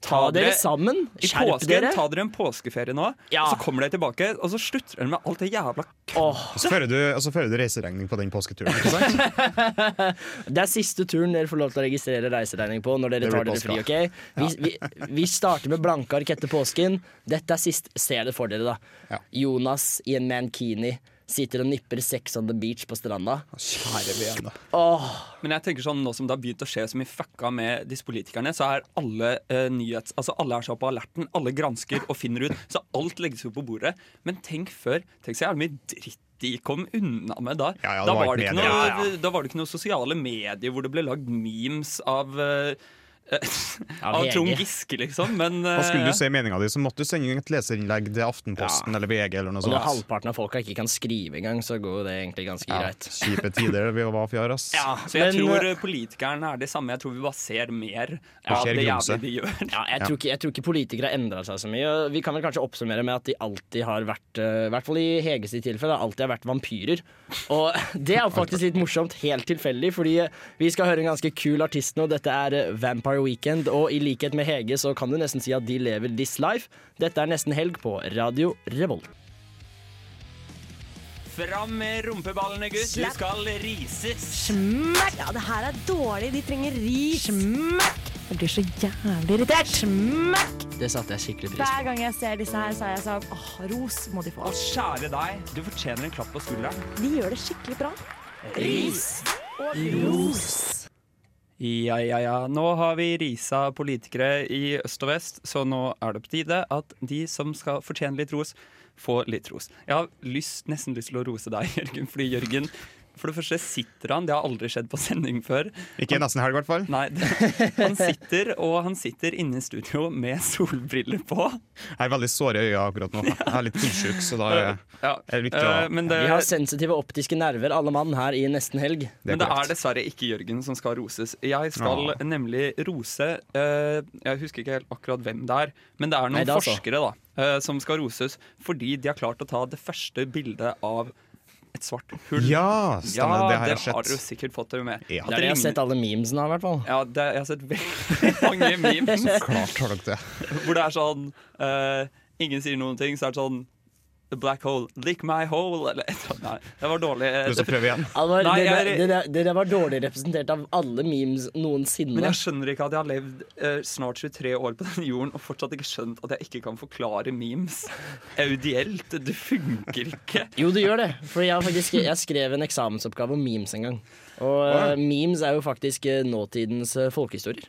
C: Ta dere sammen.
J: i
C: Skjerp
J: påsken,
C: dere.
J: Ta dere en påskeferie nå,
C: Ja.
J: og så kommer dere tilbake, og så slutter dere med alt det jævla
I: Og så fører du, og så fører du reiseregning på den påsketuren.
C: Det er siste turen dere får lov til å registrere reiseregning på når dere
I: Det
C: tar
I: blir
C: dere fri. ok?
I: påske,
C: Vi, vi, vi starter med blanke ark etter påsken. Dette er sist. Se det for dere, da. Jonas i en mankini sitter og nipper sex on the beach på stranda.
I: Kjære vene.
J: Men jeg tenker sånn, nå som det har begynt å skje så mye fucka med disse politikerne, så er alle eh, nyhets... Altså, alle er så på alerten, alle gransker og finner ut, så alt legges jo på bordet. Men tenk før, tenk så jævlig mye dritt de kom unna med da.
I: ja, det
J: da,
I: var
J: var det
I: ikke
J: ikke
I: medier,
J: noe,
I: ja, ja.
J: da var det ikke noe sosiale medier hvor det ble lagd memes av eh, Av
I: VG.
J: Trond Giske, liksom. Men
I: Og skulle
J: eh,
I: du se meninga di, så måtte du sende inn et leserinnlegg til Aftenposten eller VG eller noe
C: Og når
I: sånt.
C: halvparten av folka ikke kan skrive engang, så går jo det egentlig ganske
I: Ja,
C: greit.
I: kjipe tider vi var fjor, ass.
C: Ja,
J: Så jeg
C: men-
J: tror eh, politikerne er det samme. Jeg tror vi bare ser mer av
C: skjer
J: det
C: grumse.
J: jævlig de gjør.
C: Ja, jeg, tror ikke, jeg tror ikke politikere endrer seg så mye. Vi kan vel kanskje oppsummere med at de alltid har vært, eh, i hvert fall i Heges sitt tilfelle, alltid har vært vampyrer. Og det er jo faktisk litt morsomt, helt tilfeldig, fordi eh, vi skal høre en ganske kul artist nå. Dette er eh, Vampire Weekend, og i likhet med Hege så kan du nesten si at de lever this life. Dette er Nesten Helg på Radio Revolt.
J: Fram med rumpeballene, gutt. Du
G: Slapp.
J: skal rises.
G: Smekk! Ja, det her er dårlig. De trenger ri. Smekk!
E: Jeg blir så jævlig irritert.
G: Smekk!
C: Det satte jeg skikkelig pris
G: Hver gang jeg ser disse her, så er jeg sånn åh, ros må de få.
J: Å, kjære deg, du fortjener en klapp på skulderen.
G: De gjør det skikkelig bra.
J: Ris og ros. Ja, ja, ja. Nå har vi risa politikere i øst og vest, så nå er det på tide at de som skal fortjene litt ros, får litt ros. Jeg har lyst, nesten lyst til å rose deg, Jørgen, fordi Jørgen for det første sitter han, det har aldri skjedd på sending før.
I: Ikke
J: Han-
I: nesten helg, i hvert fall.
J: Nei, det- han sitter, og han sitter inne i studio med solbriller på.
I: Jeg er veldig såre i øya akkurat nå. Jeg er litt fullsjuk, så da er
J: Ja.
I: er det viktig å
J: Eh, men det-
C: Vi har sensitive optiske nerver, alle mann, her i Nesten Helg.
J: Men det er dessverre ikke Jørgen som skal roses. Jeg skal
C: Ah.
J: nemlig rose eh, Jeg husker ikke helt akkurat hvem det er, men det er noen
C: Nei, det er så.
J: forskere da, eh, som skal roses fordi de har klart å ta det første bildet av et svart hull.
I: Ja, stemmer. Det har jeg
J: har
I: sett.
J: du sikkert fått det med.
I: Ja.
J: At
C: Det er det jeg har
J: ligner-
C: sett altså. alle memesene av, i hvert fall.
J: Ja, det, jeg har sett veldig mange memes.
I: Klart har dere det.
J: Hvor det er sånn eh, Ingen sier noen ting, så er det sånn The black hole, lick my hole Eller et eller annet. Nei, det var dårlig.
I: Du skal prøve igjen.
C: Alvar,
J: Nei,
C: dere,
J: jeg-
C: dere, dere var dårlig representert av alle memes noensinne.
J: Men jeg skjønner ikke at jeg har levd eh, snart 23 år på denne jorden og fortsatt ikke skjønt at jeg ikke kan forklare memes audielt. Det funker ikke.
C: Jo, det gjør det. For jeg, har faktisk, jeg skrev en eksamensoppgave om memes en gang. Og
J: Wow.
C: eh, memes er jo faktisk eh, nåtidens eh, folkehistorier.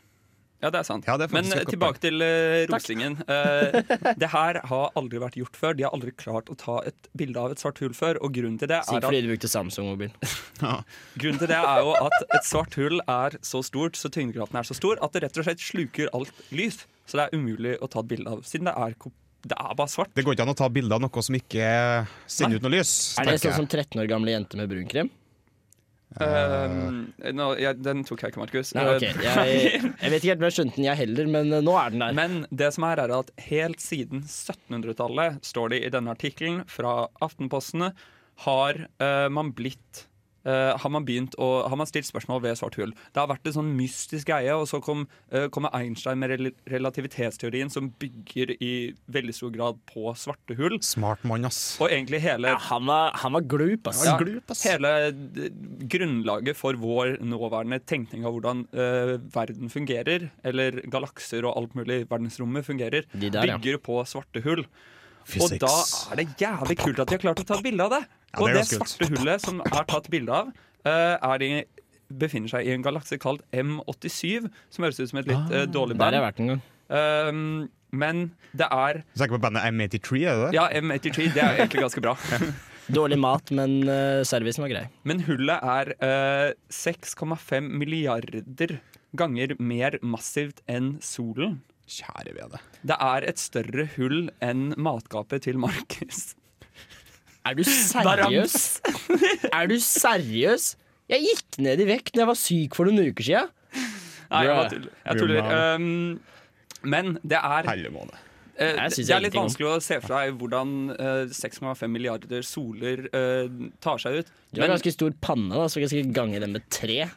J: Ja, det er sant.
C: er
J: Men
C: faktisk
J: eh,
C: et godt
J: tilbake til eh, rosingen. Eh, det her har aldri vært gjort før. De har aldri klart å ta et bilde av et svart hull før, og grunnen til det er
C: Sikkert
J: at
C: fordi de brukte Samsung-mobil.
J: Grunnen til det er jo at et svart hull er så stort, så tyngdekraften er så stor, at det rett og slett sluker alt lys. Så det er umulig å ta et bilde av, siden det er, ko- det er bare svart.
I: Det går ikke an å ta bilde av noe som ikke sender ut noe lys.
C: Er det
I: tenker
C: sånn
I: jeg.
C: som 13 år gamle jenter med brun krem?
J: Ehm, nå, jeg, den tok jeg ikke, Markus. Eh,
C: Nei, ok. Jeg, jeg vet ikke helt om jeg skjønte den, jeg heller, men eh, nå er den der.
J: Men det som er, er at helt siden 1700-tallet, står det i denne artikkelen fra Aftenpostene, har eh, man blitt eh, har, man begynt å, har man stilt spørsmål ved svart hull. Det har vært en sånn mystisk greie, og så kom, eh, kommer Einstein med rel relativitetsteorien, som bygger i veldig stor grad på svarte hull.
I: Smart mann, ass.
J: Og egentlig hele
C: eh, Han var, han var glup, ass.
J: ja, Hele d- grunnlaget for vår nåværende tenkning av hvordan eh, verden fungerer, eller galakser og alt mulig i verdensrommet fungerer,
C: der, ja.
J: bygger på svarte hull.
C: Physics.
J: Og da er det jævlig kult at de har klart å ta bilde av det.
C: Ja, det
J: og
C: er
J: det
C: ganske kult.
J: svarte hullet som er tatt bilde av, eh, er de befinner seg i en galakse kalt M87, som høres ut som et litt eh, dårlig
C: Ah. Der har
J: band.
C: jeg vært en gang.
J: Eh, men det er
I: Du tenker på bandet M83, er det det?
J: Ja, M83, det er jo egentlig ganske bra.
C: Dårlig mat, men eh, servicen var grei.
J: Men hullet er eh, 6,5 milliarder ganger mer massivt enn solen.
I: Kjære vene.
J: Det er et større hull enn matgapet til Markus.
C: Er du seriøs? er du seriøs? Jeg gikk ned i vekt da jeg var syk for noen uker siden.
J: Nei, jeg,
C: Bruh.
J: bare tuller. jeg tuller. Um, men det er Eh,
C: Jeg
J: det
C: synes
J: det er litt
C: ingenting om.
J: vanskelig å se for seg hvordan eh, 6,5 milliarder soler eh, tar seg ut.
C: Du har ganske stor panne, da, så jeg skal gange den med tre.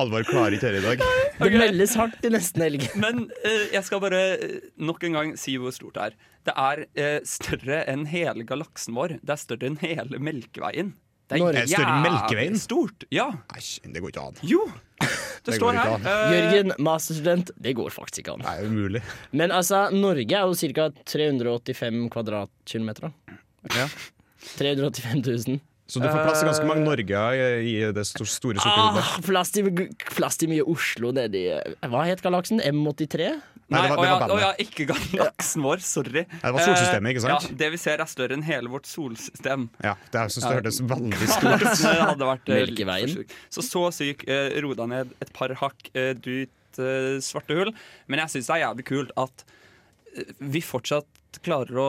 I: Alvor klarer ikke dette i dag.
C: Det meldes hardt til nesten helg.
J: Men eh, jeg skal bare eh, nok en gang si hvor stort det er. Det er eh, større enn hele galaksen vår. Det er større enn hele Melkeveien.
I: Norge. Er det større enn
J: jævlig
I: Melkeveien?
J: stort. Ja.
I: Nei, det går ikke an.
J: Jo! Det,
I: Det går
J: står
I: ikke
J: her.
I: an.
J: eh,
C: Jørgen, masterstudent, det går faktisk ikke an.
I: Nei, umulig.
C: Men altså, Norge er jo ca. 385 kvadratkilometer. da.
J: Eh,
C: 385 000.
I: Så du får plass til ganske mange Norge i i det sto- store sukkerhodet.
C: Ah, plass, til, plass til mye Oslo nedi Hva het galaksen? M83?
J: Nei, å ja, å ja, ikke galaksen vår. Sorry.
I: det var solsystemet, ikke sant?
J: Eh, Ja, det vi ser, er større enn hele vårt solsystem.
I: Ja, det er- jeg synes det
J: Ja.
I: hørtes veldig stort ut.
J: Det hadde vært eh, litt
C: Melkeveien.
J: for sykt. Så så syk. eh, Ro deg ned et par hakk eh, dypt eh, svarte hull. Men jeg syns det er jævlig kult at eh, vi fortsatt klarer å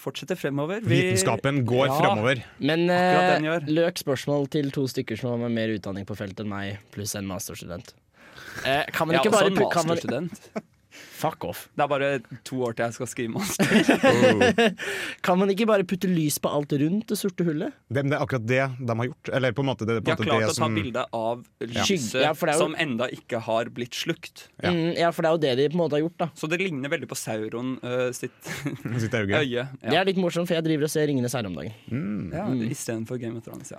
J: fortsette fremover. Vi, Ja.
C: Men
J: Akkurat den
C: eh, løk spørsmål til to stykker som har mer utdanning på feltet enn meg, pluss en masterstudent. Eh, kan man
J: Jeg er
C: ikke
J: også
C: bare
I: altså,
J: en
C: pu- kan man-
J: masterstudent.
C: Fuck off.
J: Det er bare to år til jeg skal skrive
I: Oh,
J: master.
C: Kan man ikke bare putte lys på alt rundt det sorte hullet?
I: Det, men det er akkurat det de har gjort. Eller på en måte det, er på
J: De
I: en
J: har
I: måte
J: klart
I: det
J: å ta
I: som
J: bilde av
I: Ja.
J: lyset
I: Skygge, ja, for det er jo-
J: som enda ikke har blitt slukt.
I: Ja.
C: Mm, ja, for det er jo det de på en måte har gjort, da.
J: Så det ligner veldig på Sauron eh, sitt,
I: Sitt øye.
J: ja.
C: Det er litt morsomt, for jeg driver og ser Ringenes herre om dagen.
J: Ja,
C: Mm.
J: Istedenfor Game of Thrones, ja.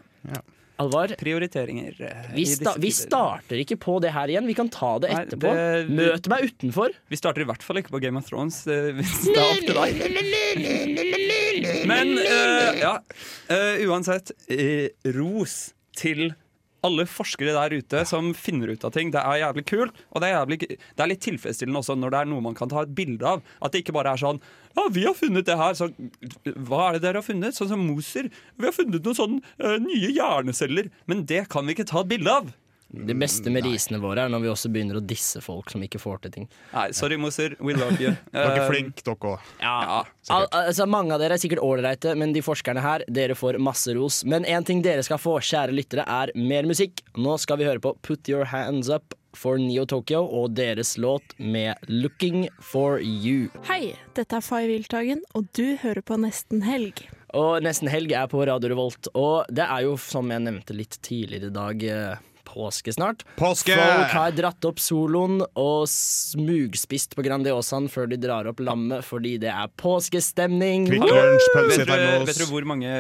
C: Alvar,
J: Prioriteringer. eh, i
C: vi,
J: disse
C: sta vi
J: tider.
C: starter ikke på det her igjen. Vi kan ta det
J: Nei,
C: etterpå.
J: det-
C: Møt meg utenfor.
J: Vi starter i hvert fall ikke på Game of Thrones. eh, Hvis det er opp til deg. Men eh, ja, eh, uansett, eh, ros til alle forskere der ute som finner ut av ting. Det er jævlig kult, og det er, jævlig, det er litt tilfredsstillende også når det er noe man kan ta et bilde av. At det ikke bare er sånn Ja, vi har funnet det her, så hva er det dere har funnet? Sånn som Moser. Vi har funnet noen sånne eh, nye hjerneceller, men det kan vi ikke ta et bilde av.
C: Det beste med risene våre er når vi også begynner å disse folk som ikke får til ting.
J: Nei, sorry, Moser. We love you. Eh,
C: Dere er
I: flinke, dere òg.
J: Ja.
C: Al altså, mange av dere er sikkert ålreite, men de forskerne her, dere får masse ros. Men én ting dere skal få, kjære lyttere, er mer musikk. Nå skal vi høre på Put Your Hands Up for Neo Tokyo og deres låt med Looking for You.
L: Hei, dette er Fay Wiltagen, og du hører på Nesten Helg.
C: Og Nesten Helg er på Radio Revolt, og det er jo, som jeg nevnte litt tidligere i dag, eh, påske snart.
I: Påske!
C: Folk har dratt opp soloen og smugspist på Grandiosaen før de drar opp lammet, fordi det er påskestemning.
J: Vet
C: Woo!
J: dere- Vet dere hvor mange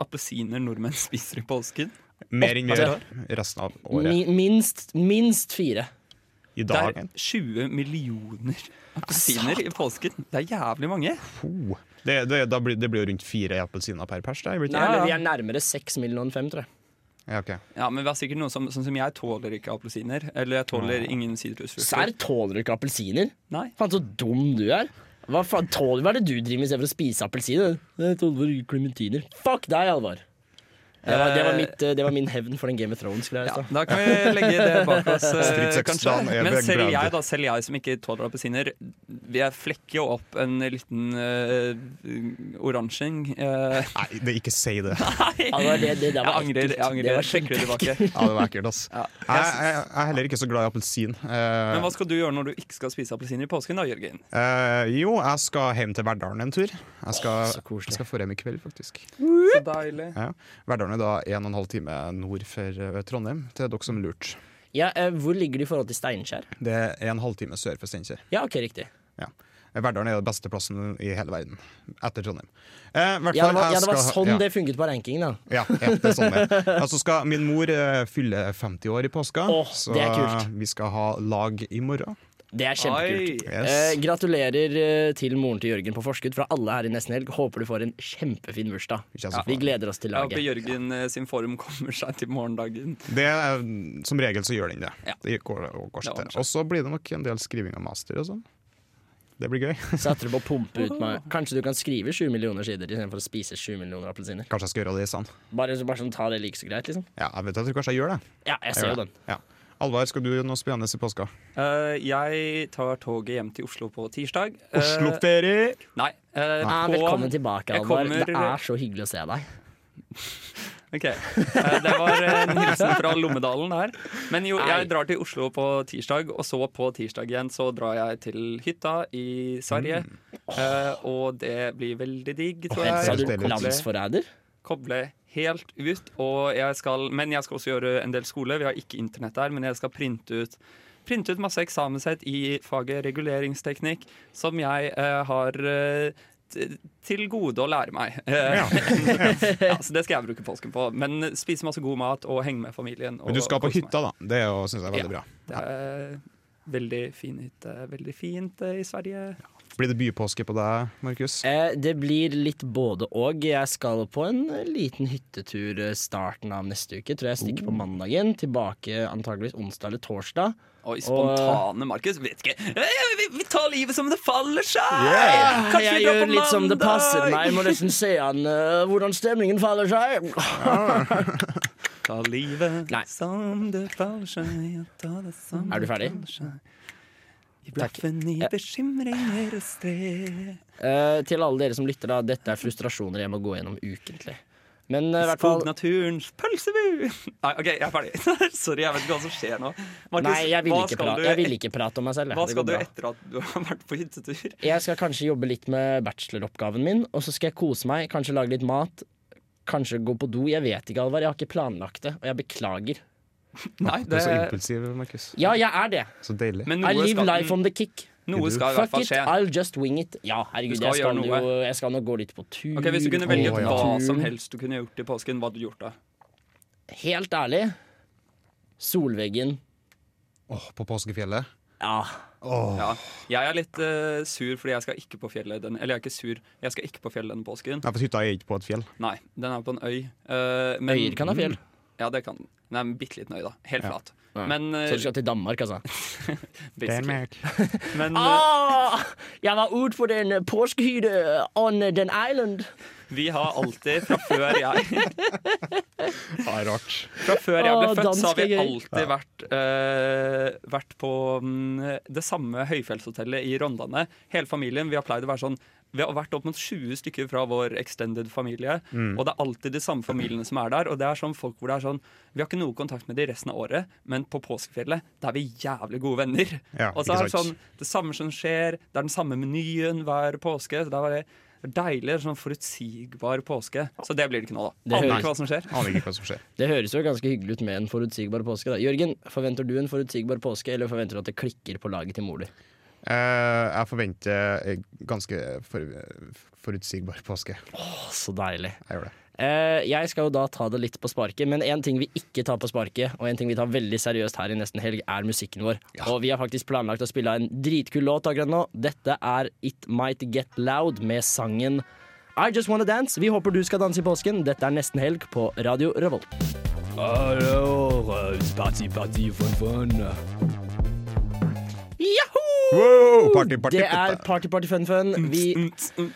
J: appelsiner nordmenn spiser i påsken?
I: Mer enn vi
J: Altså,
I: gjør resten av
C: Mi,
I: året.
C: minst, minst fire.
I: I
J: Det
I: dag.
J: er 20 millioner appelsiner i påsken. Det er jævlig mange.
I: Oh. Det, det, da blir, det blir jo rundt fire appelsiner per pers. Da, blir
C: Nei,
I: det?
C: men vi er nærmere seks mill. enn fem, tror jeg.
I: Ja, ok.
J: Ja, men vi har sikkert noen som, Sånn som jeg tåler ikke appelsiner. Eller jeg tåler ingen
C: Serr,
J: sitrusfrukter.
C: tåler du ikke appelsiner?
J: Nei.
C: Faen, så dum du er. Hva faen tåler Hva er det du driver med istedenfor å spise appelsiner? Jeg tåler klementiner. Fuck deg, Alvar. Det var, det var, mitt, eh, det var min hevn for den Game of Thrones-greia. i stad.
J: Da kan vi legge det bak oss, eh, kanskje.
C: Stridsøksen er
J: Men selv
C: begravd.
J: jeg, da, selv jeg som ikke tåler appelsiner, jeg flekker jo opp en liten uh, oransjing.
I: Nei, det, ikke si det.
J: Ja,
C: det var det- det- det var
J: jeg angrer. Jeg
C: ekkelt.
J: angrer.
C: Det var
J: Jeg trekker det tilbake.
I: Ja, det var ekkelt, ass. Jeg, jeg, jeg er heller ikke så glad i appelsin. Eh,
J: Men hva skal du gjøre når du ikke skal spise appelsiner i påsken, da, Jørgen?
I: eh, jo, jeg skal hjem til Verdalen en tur. Jeg skal, jeg skal få hjem i kveld, faktisk.
J: Så deilig.
I: Ja. Verdalen er da en og en halv time nord for eh, Trondheim, til dere som lurte.
C: Ja, eh, hvor ligger det i forhold til Steinkjer?
I: Det er en halvtime sør for Steinkjer.
C: Ja, ok, riktig.
I: Ja. Verdalen er den beste plassen i hele verden, etter Trondheim. Eh, i hvert
C: Ja, det
I: fall,
C: var,
I: jeg
C: ja, det var
I: skal-
C: sånn
I: ja.
C: det funket på rankingen, da.
I: Ja, ja, det er sånn det er. Ja, så skal min mor eh, fylle 50 år i påska, så
C: det er kult.
I: vi skal ha lag i morgen.
C: Det er kjempekult.
I: Oi. Yes.
C: Eh, gratulerer eh, til moren til Jørgen på forskudd fra alle her i Nesten Helg. Håper du får en kjempefin bursdag.
I: så
C: Vi gleder oss til
J: Jeg håper
C: laget.
J: Jørgen eh, sin form kommer seg til morgendagen.
I: Det er, som regel så gjør den det. Det går, går seg til. Og så blir det nok en del skriving av master og sånn. Det blir gøy.
C: Setter du på å pumpe ut meg Kanskje du kan skrive 7 millioner sider istedenfor å spise 7 millioner appelsiner?
I: Kanskje jeg skal gjøre det i sand.
C: Bare, bare sånn ta det like så greit, liksom.
I: Ja, jeg, vet, jeg tror kanskje jeg gjør det.
C: Ja, jeg ser
I: gjør
C: jo
I: det. Ja. Alvar, skal du gjøre noe spennende i påska?
J: Eh, jeg tar toget hjem til Oslo på tirsdag. Eh,
I: Oslo-ferie!
J: Nei. eh,
C: Ah,
J: på-
C: velkommen tilbake,
J: Jeg
C: Alvar.
J: kommer-
C: Det er så hyggelig å se deg.
J: Ok, Eh, Det var en hilsen fra Lommedalen der. Men jo, jeg drar til Oslo på tirsdag, og så på tirsdag igjen så drar jeg til hytta i Sverige. Eh, Og det blir veldig digg, tror jeg.
C: Sa Mm. du
J: Koble-
C: landsforræder?
J: Koble helt ut. Og jeg skal, men jeg skal også gjøre en del skole. Vi har ikke internett der, men jeg skal printe ut Printe ut masse eksamenssett i faget reguleringsteknikk, som jeg eh, har eh, t- til gode å lære meg. Eh, ja, så det skal jeg bruke påsken på. Men spise masse god mat og henge med familien. Og
I: Men du skal på
J: kose
I: hytta, da. Det er jo- synes jeg er veldig
J: Ja.
I: bra.
J: meg. Det er veldig fin hytte. Veldig fint eh, i Sverige.
I: Blir det bypåske på deg, Markus?
C: Eh, det blir litt både og. Jeg skal på en liten hyttetur eh, starten av neste uke. Tror jeg stikker på mandagen. Tilbake antageligvis onsdag eller torsdag.
J: Oi,
C: spontane,
J: Markus. Vet ikke. Eh, Vi, tar livet som det faller seg!
C: Yeah.
J: Kanskje
C: jeg
J: vi drar
C: gjør
J: på
C: litt som det passer meg.
J: mandag!
C: Må nesten se an eh, hvordan stemningen faller seg.
J: Ta livet som det faller seg. ja, Ta det som
C: Er du
J: det
C: ferdig?
J: faller seg. I blaffen i bekymringer og strev.
C: Eh, til alle dere som lytter, da. Dette er frustrasjoner jeg må gå gjennom ukentlig. Men eh, i hvert fall
J: Skognaturens pølsebu! Nei, OK, jeg er ferdig. Sorry, jeg vet ikke hva som skjer nå. Markus,
C: Nei, jeg vil,
J: hva
C: ikke
J: skal
C: prate,
J: du-
C: jeg vil ikke prate om meg selv. jeg.
J: Hva
C: Det
J: skal
C: går
J: du
C: bra.
J: etter at du har vært på hyttetur?
C: Jeg skal kanskje jobbe litt med bacheloroppgaven min, og så skal jeg kose meg, kanskje lage litt mat. Kanskje gå på do. Jeg vet ikke, Alvar. Jeg har ikke planlagt det, og jeg beklager.
J: Nei,
I: Du er så impulsiv, Markus.
C: Ja, jeg er det.
I: Så deilig.
C: I live life on the kick.
J: Noe skal i hvert
C: Fuck
J: fall
C: it,
J: skje.
C: I'll just wing it. Ja, herregud,
J: Du skal
C: jeg,
J: gjøre
C: skal
J: noe.
C: jo, jeg skal nå gå litt på tur.
J: Ok, Hvis du kunne velge
C: gå på
J: hva
C: tur.
J: som helst du kunne gjort i påsken, hva hadde du gjort da?
C: Helt ærlig, solveggen
I: Åh, på påskefjellet?
C: Ja.
J: ja. Jeg er litt eh, sur fordi jeg skal ikke på fjellet den, Eller jeg er ikke sur, jeg skal ikke på fjellet denne påsken.
I: Nei, for hytta er ikke på et fjell.
J: Nei, den er på en øy. Eh, men-
C: Øyer kan ha fjell.
J: Ja, det kan den. Den er en bitte liten øy, da. Helt
C: Ja.
J: flat.
C: Ja.
J: Men, eh,
C: Så du skal til Danmark, altså?
J: Basically. Men eh,
C: Ah, jeg var ute på den påskehytte on den island.
J: vi har alltid, fra før jeg
I: Ja, rart.
J: Fra før jeg ble
C: Åh,
J: født, så har vi
C: danske gøy.
J: alltid vært, eh, vært på mm, det samme høyfjellshotellet i Rondane. Hele familien. Vi har pleid å være sånn vi har vært opp mot 20 stykker fra vår extended familie.
I: Mm.
J: Og det er alltid de samme familiene som er der. Og det er sånn folk hvor det er sånn Vi har ikke noe kontakt med de resten av året, men på påskefjellet da er vi jævlig gode venner.
I: Ja,
J: og så
I: ikke
J: er det sånn
I: sant.
J: det samme som skjer, det er den samme menyen hver påske. Så det er bare deilig, sånn forutsigbar påske. Så det blir det ikke nå, da.
C: Det
J: Aner
C: høres-
J: ikke hva som skjer.
I: Aner ikke hva som skjer.
C: Det høres jo ganske hyggelig ut med en forutsigbar påske. da Jørgen, forventer du en forutsigbar påske, eller forventer du at det klikker på laget til mor di?
I: Eh, jeg forventer eh, ganske for, forutsigbar påske.
C: Åh, så deilig.
I: Jeg gjør det.
C: Eh, jeg skal jo da ta det litt på sparket, men en ting vi ikke tar på sparket, og en ting vi tar veldig seriøst her i Nesten Helg, er musikken vår. Og vi har faktisk planlagt å spille en dritkul låt akkurat nå. Dette er It Might Get Loud med sangen I Just Wanna Dance. Vi håper du skal danse i påsken. Dette er Nesten Helg på Radio Revolt.
D: Alors, euh, c'est parti, parti, fun, fun.
C: Yahoo!
I: Wow, party, party,
C: det
I: party.
C: er party, party, fun, fun. Vi
J: Mm,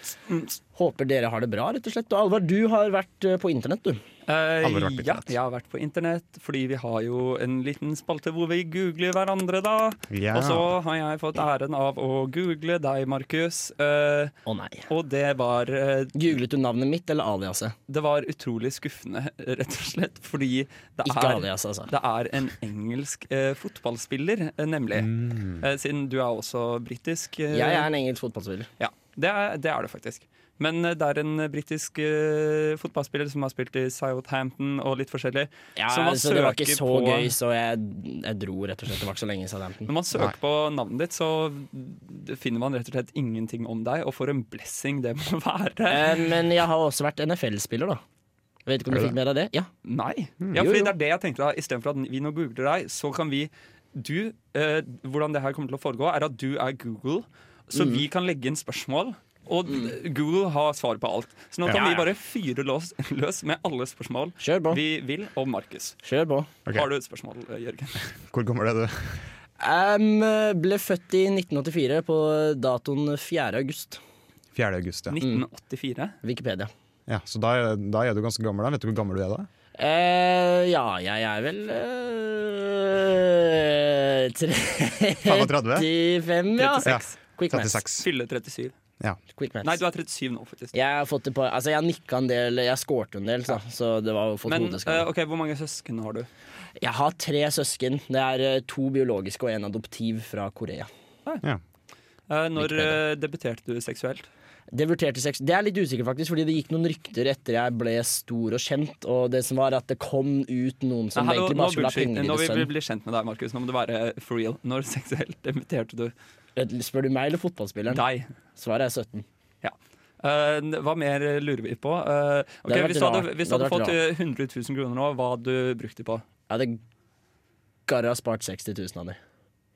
C: håper dere har det bra, rett og slett. Og Alvar, du har vært eh, på internett, du.
J: Eh,
C: Alle har vært på
J: ja, jeg har vært på internett, fordi vi har jo en liten spalte hvor vi googler hverandre, da.
C: Ja.
J: Og så har jeg fått æren av å google deg, Markus. Eh, Og det var eh,
C: Googlet du navnet mitt eller aliaset?
J: Det var utrolig skuffende, rett og slett, fordi det
C: Ikke
J: er,
C: alias, altså.
J: det er en engelsk eh, fotballspiller, eh, nemlig.
C: Mm.
J: Eh, siden du er også britisk. eh,
C: Jeg er en engelsk fotballspiller.
J: ja, det er, det er det faktisk. Men eh, det er en eh, britisk eh, fotballspiller som har spilt i Southampton og litt forskjellig.
C: Ja,
J: som man
C: så det var ikke
J: søker
C: så
J: på-
C: gøy, så jeg, jeg dro rett og slett. Det var ikke så lenge i Southampton.
J: Når man søker på navnet ditt, så finner man rett og slett ingenting om deg, og for en blessing det må være.
C: Eh, Men jeg har også vært NFL-spiller, da. Vet ikke om du
J: Er du
C: fikk med deg det? Ja.
J: Nei. Ja,
C: Mm. Jo,
J: fordi
C: jo.
J: det er det jeg tenkte da. Istedenfor at vi nå googler deg, så kan vi Du, eh, hvordan det her kommer til å foregå, er at du er Google, så
C: Mm.
J: vi kan legge inn spørsmål. Og Google har svar på alt. Så nå
C: Ja,
J: kan
C: ja.
J: vi bare fyre løs, løs med alle spørsmål vi vil om Markus.
C: Kjør på.
J: Har du et spørsmål, eh, Jørgen?
I: Hvor gammel er du?
C: Em, ble født i 1984 på datoen 4. august.
I: 4. august,
C: Mm.
I: ja.
J: 1984?
C: Wikipedia.
I: ja så da, er- da er du ganske gammel. da Vet du hvor gammel du er da?
C: Eh, ja, jeg er vel eh, tre- 35, ja.
J: 36.
C: Quick maths.
J: Fylle 37.
C: Quick maths.
J: Nei, du er 37 nå, faktisk.
C: Jeg har fått det på Altså, jeg nikka en del, jeg skårte en del, så, så det var å få
J: Men
C: hodeskade.
J: eh, ok, hvor mange søsken har du?
C: Jeg har tre søsken. Det er eh, to biologiske og en adoptiv fra Korea.
J: Eh, når eh, debuterte du seksuelt?
C: Debuterte sex Det er litt usikker faktisk, fordi det gikk noen rykter etter jeg ble stor og kjent, og det som var at det kom ut noen som
J: Nei, hallo,
C: egentlig
J: nå,
C: bare skulle ha
J: bullshit.
C: penger i det
J: nå vil vi
C: sønn.
J: bli kjent med deg, Markus. Nå må du være for real. Når seksuelt debuterte du?
C: Spør du meg eller fotballspilleren?
J: Deg.
C: Svaret er 17.
J: Ja. Eh, hva mer lurer vi på? Eh,
C: Det
J: ok,
C: hadde vært
J: hvis du hadde,
C: rart.
J: hvis
C: Det
J: du
C: hadde
J: hadde
C: vært
J: fått eh, 100 000 kroner nå, hva hadde du brukt det på?
C: Jeg hadde garra spart 60 000 av dem.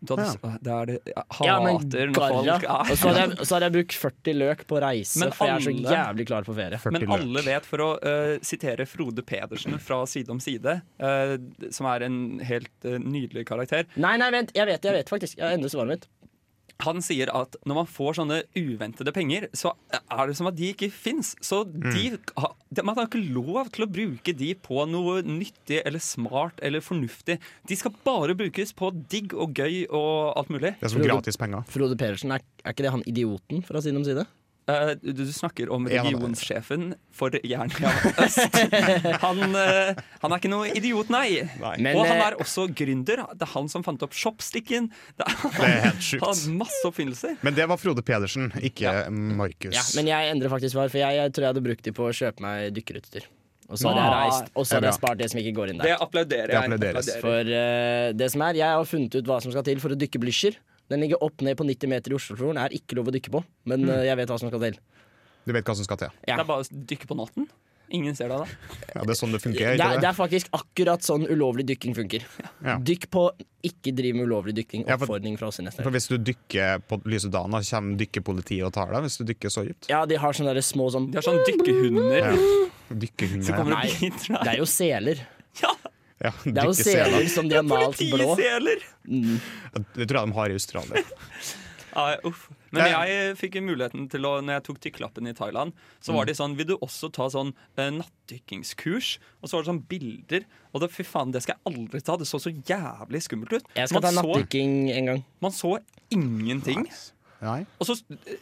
J: Du hadde, eh, Det er det Jeg hater
C: Ja, men
J: når
C: garra.
J: folk er
C: Og så hadde, jeg, så hadde jeg brukt 40 løk på reise,
J: Men
C: for jeg er så
J: alle-
C: jævlig klar for ferie.
J: Men alle vet, for å eh, sitere Frode Pedersen fra Side om side, eh, som er en helt eh, nydelig karakter
C: Nei, nei, vent. Jeg vet, jeg vet faktisk. Jeg endrer svaret mitt.
J: Han sier at når man får sånne uventede penger, så er det som at de ikke fins. Så de, ha- de, man har ikke lov til å bruke de på noe nyttig eller smart eller fornuftig. De skal bare brukes på digg og gøy og alt mulig.
I: penger.
C: Frode Pedersen, er, er ikke det han idioten fra side om side?
J: Eh, du, du snakker om
C: Ja, han er-
J: regionssjefen for Jernia øst. Han, eh, han er ikke noe idiot, nei.
C: Men,
J: og han
C: eh,
J: er også gründer. Det er han som fant opp shopsticken. Det er,
I: Det er helt sjukt.
J: Han har masse oppfinnelser.
I: Men det var Frode Pedersen, ikke Markus.
C: Ja, men jeg endrer faktisk svar, for jeg, jeg tror jeg hadde brukt de på å kjøpe meg dykkerutstyr. Og så hadde jeg
J: Nei.
C: reist, og så hadde jeg
J: Ah, Det er bra.
C: spart det som ikke går inn der.
J: Det applauderer jeg. Applauderes.
C: For eh, det som er, jeg har funnet ut hva som skal til for å dykke blysjer. Den ligger opp ned på 90 meter i Oslofjorden, er ikke lov å dykke på, men
J: Mm.
C: eh, jeg vet hva som skal til.
I: Du vet hva som skal til.
J: Det er bare å dykke på natten. Ingen ser deg da.
I: Ja, det er sånn det funker.
C: Det
I: Ikke
C: er, det
I: det?
C: er faktisk akkurat sånn ulovlig dykking funker. Dykk på ikke driv med ulovlig dykking.
I: Ja, for-
C: Oppfordring fra oss i neste
I: For
C: helg.
I: hvis du dykker på lyse dagen, da kommer dykkerpolitiet og tar deg. Hvis du dykker så dypt.
C: Ja, de har sånne der små sånn
J: De har sånn dykkehunder.
I: Ja. Dykkerhunder.
C: Så kommer
I: ja.
C: det biter der. Det er jo seler.
I: Ja,
C: Det er jo
I: dykkeseler.
C: seler som de har malt blå.
J: Politiseler!
C: Mm.
I: Det tror jeg de har i Australia.
J: Nei, uff. Men jeg fikk muligheten til å Når jeg tok tikklappen i Thailand, så var de sånn Vil du også ta sånn eh, nattdykkingskurs? Og så var det sånn bilder. Og da, fy faen, det skal jeg aldri ta. Det så så jævlig skummelt ut.
C: Jeg skal ta nattdykking en gang.
J: Man så ingenting. Og så,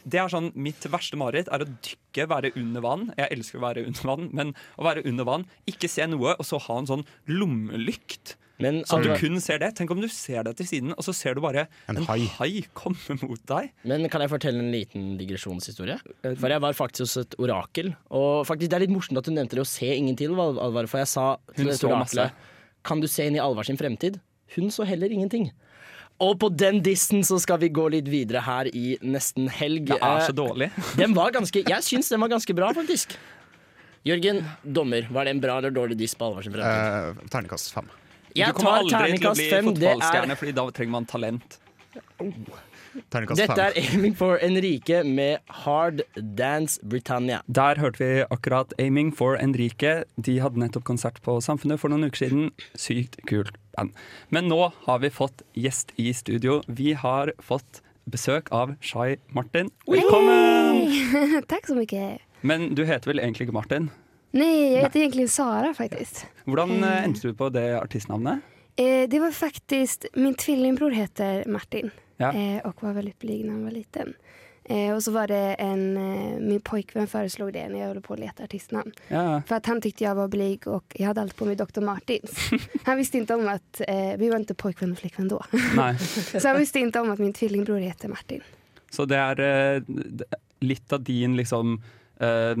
J: det er sånn, Mitt verste mareritt er å dykke, være under vann. Jeg elsker å være under vann, men å være under vann, ikke se noe, og så ha en sånn lommelykt. så du
C: Alvar-
J: kun ser det. Tenk om du ser deg til siden, og så ser du bare en, hai. komme mot deg.
C: Men kan jeg fortelle en liten digresjonshistorie? For jeg var faktisk hos et orakel. Og faktisk det er litt morsomt at du nevnte det å se ingen til, Val- Alvar. For jeg sa til
J: Hun
C: dette
J: så masse.
C: oraklet Kan du se inn i Alvar sin fremtid? Hun så heller ingenting. Og på den dissen så skal vi gå litt videre her i nesten helg.
J: Det er
C: Eh,
J: så dårlig.
C: Den var ganske, jeg syns den var ganske bra, faktisk. Jørgen, dommer, var det en bra eller dårlig diss på Alvar sin fremtid?
I: Eh, terningkast fem.
C: Jeg
J: du kommer
C: tar
J: aldri til å bli
C: terningkast fem. Det er
J: fotballstjerne, Fordi da trenger man talent.
C: Dette er Aiming for Enrique med Hard Dance Britannia.
J: Der hørte vi akkurat Aiming for Enrique. De hadde nettopp konsert på Samfunnet for noen uker siden. Sykt kult band. Men nå har vi fått gjest i studio. Vi har fått besøk av Shai Martin. Velkommen!
M: Hej! Tack så mycket.
J: Men du heter vel egentlig ikke Martin?
M: Nej, jag heter egentligen Sara faktiskt.
J: Hvordan eh,
M: Eh.
J: endte du på det artistnavnet?
M: Eh, det var faktiskt, min tvillingbror heter Martin
J: Ja.
M: eh, och var väldigt blyg när han var liten. Eh, och så var det en, eh, min pojkvän föreslog det när jag höll på att leta artistnamn.
J: Ja.
M: För att han tyckte jag var blyg och jag hade alltid på mig Dr. Martins. Han visste inte om att, eh, vi var inte pojkvän och flickvän då.
J: Nei.
M: Så han visste inte om att min tvillingbror heter Martin.
J: Så det er eh, d- litt av din liksom eh,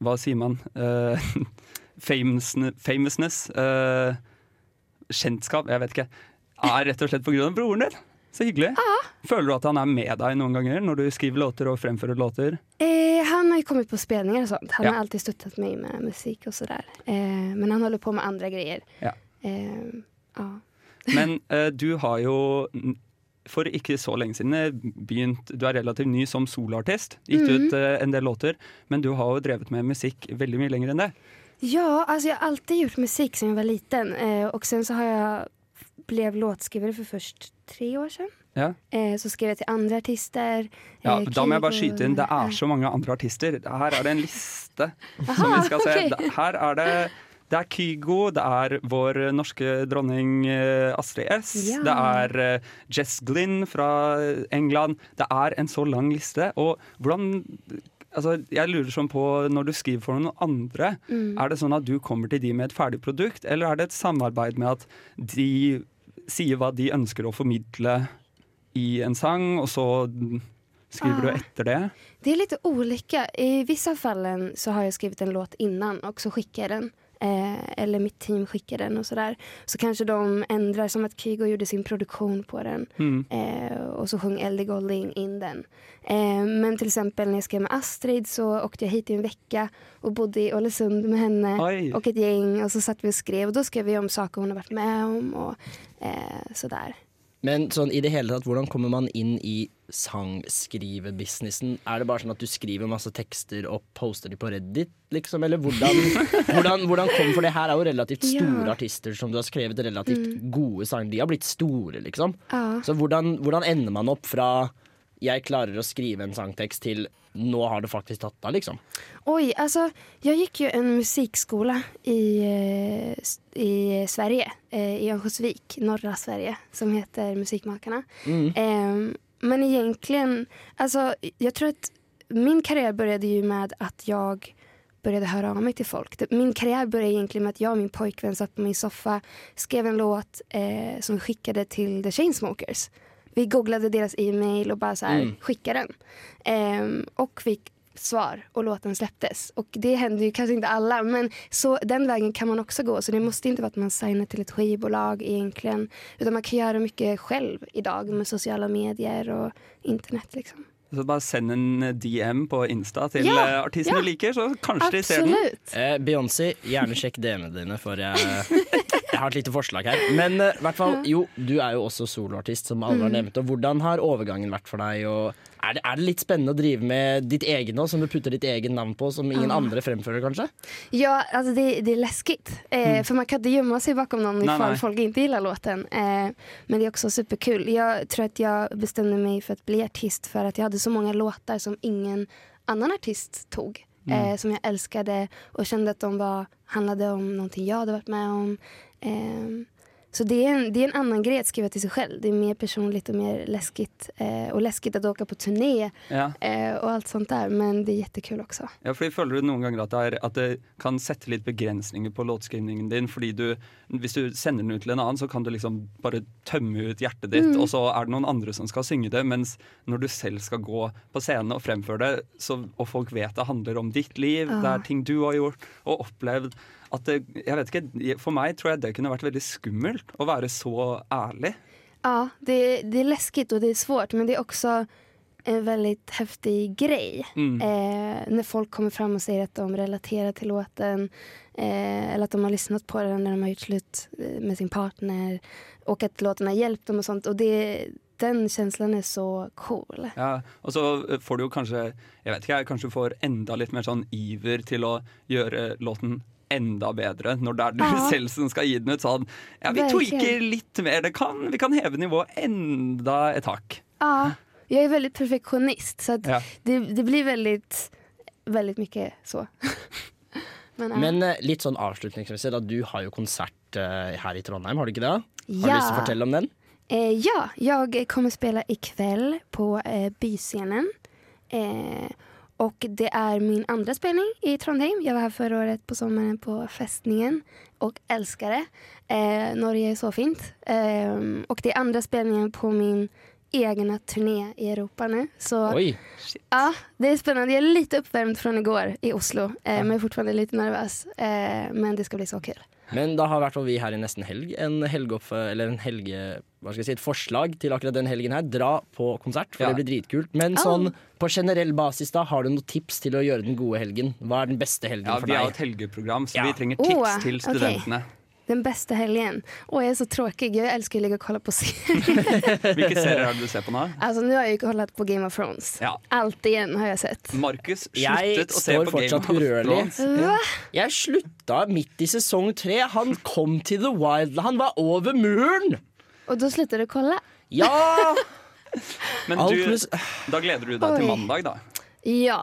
J: Hva sier man? Eh, famousne- famousness. eh, kjentskap, jeg vet ikke. Er rett og slett på grunn av broren din. Så hyggelig. Føler du at han er med deg noen ganger når du skriver låter og fremfører låter?
M: Eh, han har ju kommit på spelningar och sånt. Han
J: Ja.
M: har alltid stöttat mig med musik och sådär. Eh, men han håller på med andra grejer.
J: Ja.
M: Eh, ja.
J: Men eh, du har jo n- for ikke så lenge siden eh, begynt Du er relativt ny som soloartist.
M: Mhm.
J: Gitt ut eh, en del låter. Men du har jo drevet med musikk veldig mye lenger enn det.
M: ja, alltså jag har alltid gjort musik sedan jag var liten. Eh, och sen så har jag blev låtskrivare för först tre år sedan.
J: Ja.
M: Eh, så skrev jeg til andre artister.
J: Ja,
M: eh,
J: da må jeg bare
M: Kygo-
J: skyte inn. Det er så mange andre artister. Her er det en liste som
M: Aha,
J: vi skal se.
M: ok.
J: Det- Her er det det er Kygo, det er vår norske dronning eh, Astrid S.
N: Ja.
J: Det er eh, Jess Glynn fra England. Det er en så lang liste. Og hvordan Altså, jeg lurer sånn på, når du skriver for noen andre,
N: Mm.
J: er det sånn at du kommer til de med et ferdig produkt, eller er det et samarbeid med at de sier hva de ønsker å formidle i en sang, og så skriver du
M: Ah.
J: etter det?
M: Det är lite olika. I vissa fallen så har jag skrivit en låt innan och så skickar jag den. Eh, eller mitt team skickar den och sådär. Så kanske de ändrar, som att Kygo gjorde sin produktion på den.
O: Mm.
M: Eh, och så sjöng Ellie Golding in den. Eh, men till exempel när jag skrev med Astrid så åkte jag hit i en vecka och bodde i Ålesund med henne
J: Oj.
M: och ett gäng. Och så satt vi och skrev och då skrev vi om saker hon har varit med om och eh, sådär.
C: Men sånn i det hele tatt, hvordan kommer man inn i sangskrivebusinessen? Er det bare sånn at du skriver masse tekster og poster de på Reddit, liksom? Eller hvordan, hvordan, hvordan kom For det her er jo relativt
M: Ja.
C: store artister som du har skrevet relativt
M: Mm.
C: gode sanger. De har blitt store, liksom.
M: Ja.
C: Så hvordan, hvordan ender man opp fra jeg klarer å skrive en sangtekst til nå har det faktisk tatt av, liksom?
M: Oj, alltså jag gick ju en musikskola i, eh, s- i Sverige, eh, i Örnsköldsvik, norra Sverige, som heter Musikmakarna.
O: Mm.
M: Eh, men egentligen, alltså jag tror att min karriär började ju med att jag började höra av mig till folk. Det- Min karriär började egentligen med att jag och min pojkvän satt på min soffa, skrev en låt eh, som vi skickade till The Chainsmokers. Vi googlade deras e-mail och bara så här,
O: Mm.
M: skicka den. Ehm, och fick svar och låten släpptes. Och det händer ju kanske inte alla men så den vägen kan man också gå. Så det måste inte vara att man signar till ett skivbolag egentligen. Utan man kan göra mycket själv idag med sociala medier och internet liksom.
J: Så bare send en DM på Insta til
M: Ja,
J: eh, artisten
M: ja.
J: du liker, så kanskje de ser den.
C: Eh, Beyoncé, gjerne sjekk DM-ene dine, for jeg, jeg har et lite forslag her. Men eh, hvert fall, jo, du er jo også soloartist, som alle har
M: Mm.
C: nevnt. Og hvordan har overgangen vært for deg? Og er, det, er det litt spennende å drive med ditt eget nå, som du putter ditt eget navn på, som ingen
M: Ah.
C: andre fremfører, kanskje?
M: Ja, alltså det, det är läskigt. Eh,
C: Mm.
M: För man kan inte gömma sig bakom någon
C: Nej,
M: ifall
C: nej.
M: folk inte gillar låten. Eh, men det är också superkul. Jag tror att jag bestämde mig för att bli artist för att jag hade så många låtar som ingen annan artist tog. Eh,
O: Mm.
M: som jag älskade och kände att de var, handlade om någonting jag hade varit med om. Eh, så det är, en, det är en annan grej att skriva till sig själv. Det är mer personligt och mer läskigt. Eh, og läskigt att åka på turné
J: Ja.
M: eh, och allt sånt där. Men det är jättekul också.
J: Ja, fordi Føler du noen ganger at det, er, at det kan sette litt begrensninger på låtskrivningen din? fordi du, Hvis du sender den ut til en annen, så kan du liksom bare tømme ut hjertet ditt,
M: Mm.
J: og så er det noen andre som skal synge det. Mens når du selv skal gå på scenen og fremføre det, så, og folk vet det handler om ditt liv, det
M: Ah.
J: er ting du har gjort og opplevd at det, jeg vet ikke, For meg tror jeg det kunne vært veldig skummelt å være så ærlig.
M: Ja, det, det är läskigt och det är svårt men det är också en väldigt häftig grej.
O: Mm.
M: Eh, när folk kommer fram och säger att de relaterar till låten eh, eller att de har lyssnat på den när de har gjort slut eh, med sin partner och att låten har hjälpt dem och sånt. Och det, den känslan är så cool.
J: Ja, og så eh, får du jo kanskje Jeg vet ikke, jeg, kanskje du får enda litt mer sånn iver til å gjøre låten enda bedre når det er du
M: Ja.
J: selv som skal gi den ut. Sånn, ja, vi
M: Verkligen.
J: tweaker litt mer, det kan, vi kan heve nivået enda et hakk.
M: Ja, Jag är väldigt perfektionist så att
C: Ja.
M: det, det blir väldigt, väldigt mycket så. Men, ja.
C: Men eh, litt sånn avslutningsmessig, da, du har jo konsert eh, her i Trondheim, har du ikke det? Har du
M: Ja.
C: lyst til å fortelle om den?
M: Eh, ja, jag kommer spela ikväll på eh, byscenen. Eh, och det är min andra spelning i Trondheim. Jag var här förra året på sommaren på fästningen och älskar det. Eh, Norge är så fint. Eh, och det är andra spelningen på min egna turné i Europa nu. Så,
C: Oj.
M: Ja, det är spännande. Jag är lite uppvärmd från igår i Oslo, eh, men jag är fortfarande lite nervös. Eh, men det ska bli så kul.
C: Men da har i hvert fall vi her i Nesten Helg en helgeopp... Eller en helge... Hva skal jeg si, et forslag til akkurat den helgen her. Dra på konsert, for
J: Ja.
C: det blir dritkult. Men
J: Ja.
C: sånn på generell basis, da, har du noen tips til å gjøre den gode helgen? Hva er den beste helgen
J: Ja,
C: for
J: vi har et
C: deg?
J: helgeprogram, så vi trenger
M: Åh,
J: tips til
M: ok.
J: studentene.
M: Den bästa helgen. Åh, jag är så tråkig. Jag älskar att ligga och kolla på serier.
J: Hvilke serier har du sett på nå?
M: Alltså nu Altså, har jag ju kollat på Game of Thrones.
J: Ja.
M: Allt igen har jag sett.
J: Markus
C: Jeg
J: sluttet å se
C: står
J: på Game of
C: fortsatt urørlig.
J: Thrones.
M: Hva?
C: Jeg slutta midt i sesong tre. Han kom til The Wild. Han var over muren!
M: Och då slutar du kolla?
C: Ja!
J: Men
C: Alt
J: du,
C: med
J: da gleder du deg til
M: Oi.
J: mandag, da.
M: Ja.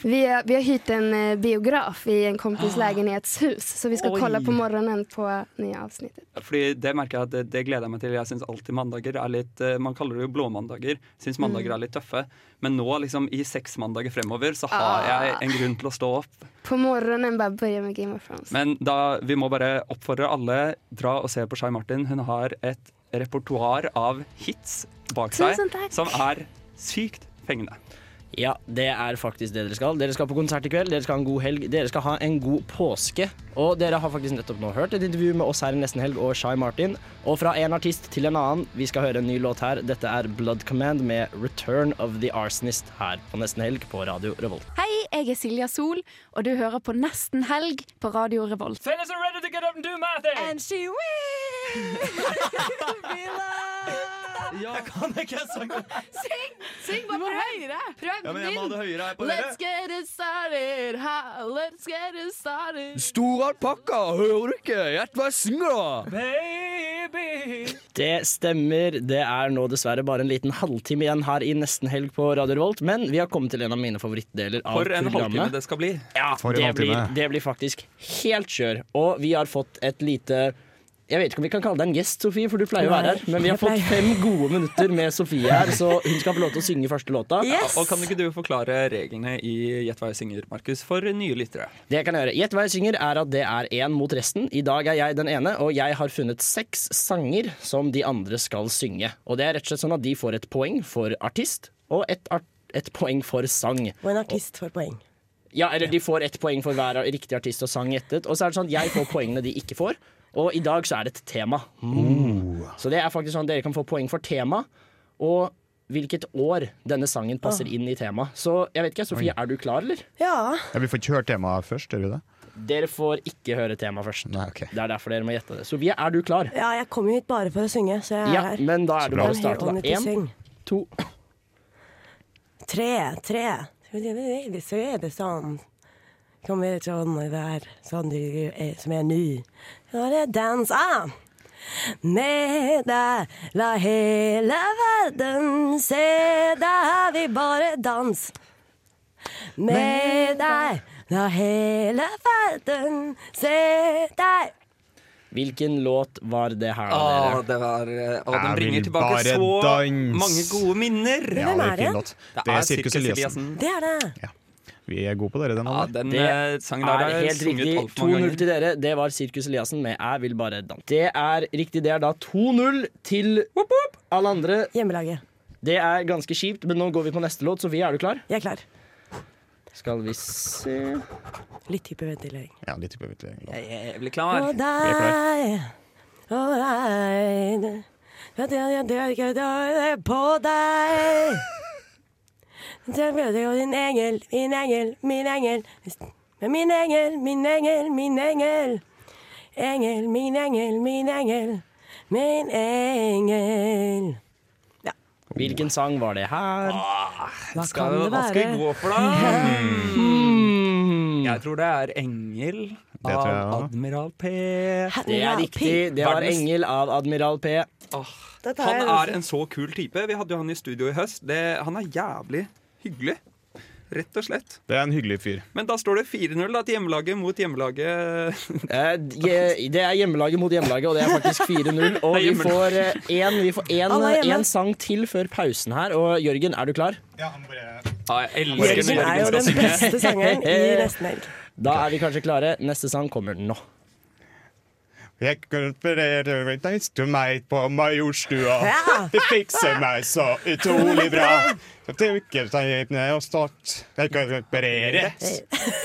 M: Vi, har- vi har hyrt en eh, biograf i en kompis
J: Ah.
M: lägenhetshus. Så vi ska
J: Oj.
M: kolla på morgonen på nya avsnittet.
J: Fordi det merker jeg at det, det gleder jeg meg til. Jeg syns alltid mandager er litt eh, Man kaller det jo blåmandager. Syns
N: Mm.
J: mandager er litt tøffe. Men nå, liksom i seks mandager fremover, så
N: Ah.
J: har jeg en grunn til å stå opp.
M: På morgonen bara börja med Game of Thrones.
J: Men da, vi må bare oppfordre alle, dra og se på Shai Martin. Hun har et repertoar av hits bak seg
C: Tusen takk.
J: som er sykt fengende.
C: Ja, det er faktisk det dere skal. Dere skal på konsert i kveld, dere skal ha en god helg, dere skal ha en god påske. Og dere har faktisk nettopp nå hørt et intervju med oss her i Nesten Helg og Shai Martin. Og fra en artist til en annen, vi skal høre en ny låt her. Dette er Blood Command med Return of the Arsonist her på Nesten Helg på Radio Revolt.
E: Hei, jeg er Silja Sol, og du hører på Nesten helg på Radio Revolt.
N: Fellas are ready to get up and do my thing. And she will be loved.
O: Jeg kan ikke sangen.
N: Syng! Syng bare prøv. høyere. Prøv
O: Ja, men jeg må ha det høyere her på
N: Let's get it started. Ha, let's get it started.
O: Store alpakka, hører du ikke? Gjett hva jeg synger, da!
N: Baby.
C: Det stemmer. Det er nå dessverre bare en liten halvtime igjen her i Nesten Helg på Radio Revolt, men vi har kommet til en av mine favorittdeler av
J: For en halvtime
C: programmet.
J: det skal bli.
C: Ja,
J: For en
C: det
J: halvtime.
C: blir, det blir faktisk helt kjør. Og vi har fått et lite jeg vet ikke om vi kan kalle deg en gjest, Sofie, for du pleier å være her. Men vi har
J: Jeg
C: fått
J: pleier.
C: fem gode minutter med Sofie her, så hun skal få lov til å synge første låta.
J: Ja, Og kan ikke du forklare reglene i Gjett hva jeg synger, Markus, for nye lyttere?
C: Det kan jeg gjøre. Gjett hva jeg synger er at det er én mot resten. I dag er jeg den ene, og jeg har funnet seks sanger som de andre skal synge. Og det er rett og slett sånn at de får et poeng for artist, og et, art et poeng for sang.
P: Og en artist får poeng.
C: Ja, eller de får ett poeng for hver riktig artist og sang gjettet. Og så er det sånn at jeg får poengene de ikke får. Og i dag så er det et tema. Mm. Så det er faktisk sånn at dere kan få poeng for tema, og hvilket år denne
P: Ah.
C: sangen passer inn i temaet. Så jeg vet ikke, Sofie, er du klar, eller?
P: Ja.
F: Ja, vi får ikke hørt temaet først, gjør vi det?
C: Dere får ikke høre temaet først. Det er derfor dere må gjette det. Sofie, er du klar?
P: ja, jeg kom jo hit bare for å synge, så jeg er
C: Ja,
P: her.
C: men da er det
P: I'm
C: bare å
P: here
C: starte, da.
P: only to
C: En,
P: sing.
C: to
P: Tre, tre. Så er det sånn. Kommer sånn der, sånn du er, som er ny. Nå er det dansa med deg. La hele verden se deg. Vi bare dans med deg. La hele verden se deg.
C: Hvilken låt var det her? da,
J: Å,
C: dere?
J: det var, eh, å,
C: Jeg
J: den bringer
C: vil
J: tilbake
C: bare
J: så
C: dans.
J: mange gode minner.
F: Ja,
P: Hvem det er er fin det? låt.
F: Det er Sirkus Eliassen.
P: Det er det.
F: Vi er gode på dere, den.
J: Ja, den eh, sangen der
C: er
J: har jeg
C: helt
J: sunget
C: riktig.
J: altfor mange
C: 2-0
J: ganger.
C: til dere. Det var Sirkus Eliassen med 'Jeg vil bare danse'. Det er riktig. Det er da 2-0 til alle andre.
P: Hjemmelaget.
C: Det er ganske kjipt, men nå går vi på neste låt. Sofie, er du klar?
P: Jeg er klar.
C: Skal vi se
P: Litt hyperventilering.
F: Ja, litt hyperventilering.
J: Jeg er jævlig klar.
P: Og deg, og deg Ja, det- ja, det er ikke det er på deg. Jeg møter jo din engel, min engel, min engel. Men min engel, min engel, min engel. Engel, min engel, min engel. Min engel.
C: Hvilken sang
J: Ah.
C: var det her?
P: Hva
C: skal-
P: kan det
C: hva skal jeg
P: være?
C: gå for, da? Hmm.
J: Jeg tror det er Engel
C: tror
J: av
C: jeg også.
J: Admiral P.
C: Det er riktig. Det var
J: Verdens-
C: Engel av Admiral P.
P: Dette er
J: Han
P: nesten-
J: er en så kul type. Vi hadde jo han i studio i høst. Det, han er jævlig hyggelig. Rett og slett.
I: Det er en hyggelig fyr.
J: Men da står det 4-0 da, til hjemmelaget mot hjemmelaget.
C: Eh, je- Det er hjemmelaget mot hjemmelaget, og det er faktisk 4-0. Og vi får eh, en- vi får en,
J: Alle er hjemme.
C: en sang til før pausen her. Og Jørgen, er du klar?
J: Ja, jeg elsker når
P: Jørgen er jo
C: skal
P: den
C: synge.
P: beste sangeren i Nesten Helg.
C: Da er vi kanskje klare. Neste sang kommer nå.
I: Jeg gratulerer med deg til meg på Majorstua. Det fikser meg så utrolig bra. Jeg tenker seg ned og start. Jeg gratulerer.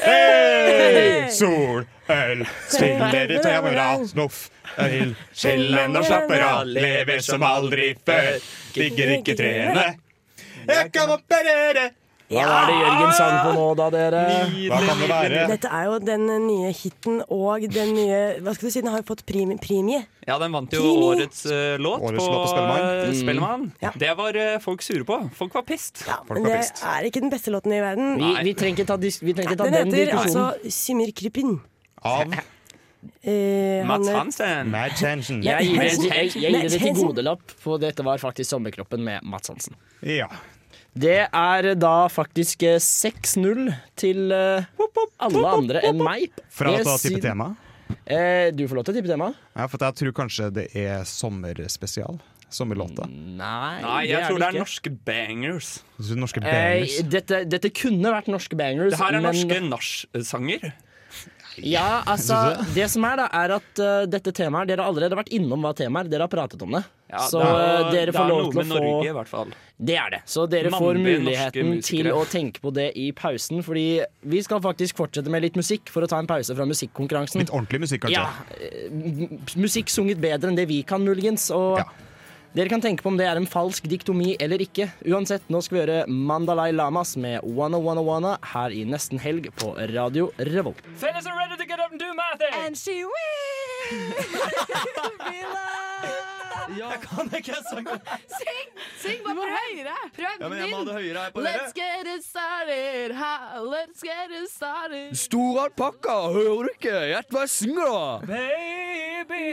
I: Hei! Sol, øl, spiller i kamera, snuff, øl, chillen og slapper av. Lever som aldri før. Digger ikke trærne. Jeg kan operere.
C: Hva er det Jørgen sang på nå, da, dere?
I: Hva kan det være?
P: Dette er jo den nye hiten og den nye Hva skal du si, den har jo fått primi- premie.
J: Ja, den vant jo
P: Primi.
J: årets eh, låt
I: Årets
J: på,
I: låt på Spellemann.
J: eh,
I: Mm.
J: Spellemann. Det var eh, folk sure på. Folk var pissed.
P: Men det er ikke den beste låten i verden.
J: Vi- vi
C: trenger ikke ta,
P: den heter altså Symir Krypin.
I: Av
P: Eh, han
C: Mats
P: er-
C: Hansen.
I: Mats Hansen.
C: Jeg gir det, jeg, jeg gir det til
P: Hansen.
C: godelapp, for dette var faktisk Sommerkroppen med Mats Hansen.
I: Ja.
C: Det er da faktisk eh, 6-0 til eh, alle andre enn meg.
I: Fra
C: Det
I: å ta type
C: siden-
I: tema.
C: Eh, du får lov til å tippe tema.
I: Ja, for jeg tror kanskje det er sommerspesial. Sommerlåta.
C: Mm. Nei,
J: Nei, jeg tror det er
C: ikke.
J: norske bangers.
I: Så Norske bangers.
C: Eh, dette, dette kunne vært norske bangers.
J: Det her
C: men-
J: er norske nachsanger.
C: Ja, altså, det som er da, er at eh, dette temaet Dere har allerede vært innom hva temaet er, dere har pratet om det.
J: Ja,
C: så
J: det er-
C: eh, dere
J: det er
C: får lov til
J: noe
C: å
J: med
C: få
J: Norge, i hvert fall.
C: Det er det. Så dere får
J: Mannlige norske
C: muligheten til
J: musikere.
C: å tenke på det i pausen, fordi vi skal faktisk fortsette med litt musikk for å ta en pause fra musikkonkurransen.
I: Litt ordentlig musikk, kanskje.
C: Ja, eh, m- musikk sunget bedre enn det vi kan, muligens. Og dere kan tenke på om det er en falsk diktomi eller ikke. Uansett, nå skal vi høre Mandalay Lamas med Wanna Wanna Wanna her i Nesten Helg på Radio Revolt.
O: Fellas are ready to get up and do my thing. And she will be loved. Jeg kan ikke synge.
N: Syng! Syng bare høyere! Prøv
O: Ja, men jeg må ha det høyere her på dere.
N: Let's get it started, ha, let's get it started.
O: Stor alpakka, hører du ikke? Gjett hva jeg synger, da. Baby.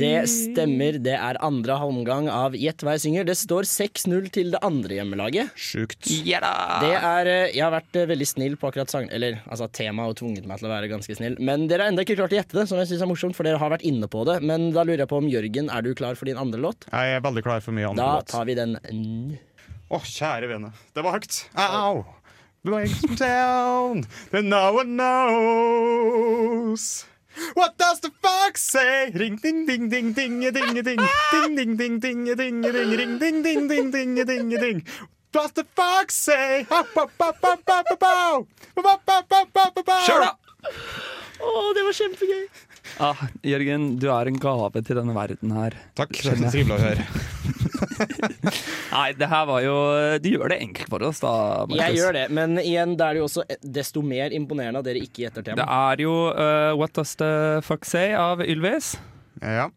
C: Det stemmer. Det er andre omgang av Gjett hva jeg synger. Det står 6-0 til det andre hjemmelaget.
I: Sjukt.
C: Ja da! Det er, eh, jeg har vært eh, veldig snill på akkurat sang... Eller altså, temaet har tvunget meg til å være ganske snill. Men dere har ennå ikke klart å gjette det, som jeg synes er morsomt, for dere har vært inne på det. Men da lurer jeg på om Jørgen, er du klar for din andre låt?
I: Jeg er veldig klar for mye andre
C: Da
I: låt.
C: tar vi den
I: Å, kjære vene. Det var høyt. Au! Breaks down, then no one knows. What does the fox say? Ring, ding, ding, ding, ding, ding, ding, ding, ding, ding, ding, ding, ding, ring, ding, ding, ding, ding, ding, ding. What does the fox say? Kjør, da!
C: Å, det var kjempegøy!
J: Ah, Jørgen, du er en gave til denne verden her.
I: Takk,
J: det
I: er så trivelig å høre.
J: Nei, det her var jo eh, Du gjør det enkelt for oss, da. Markus.
C: Jeg gjør det, men igjen, da er det jo også eh, desto mer imponerende at dere ikke gjetter
J: Det
C: temaet.
J: er jo eh, What Does The Fuck Say av Ylvis.
I: Ja.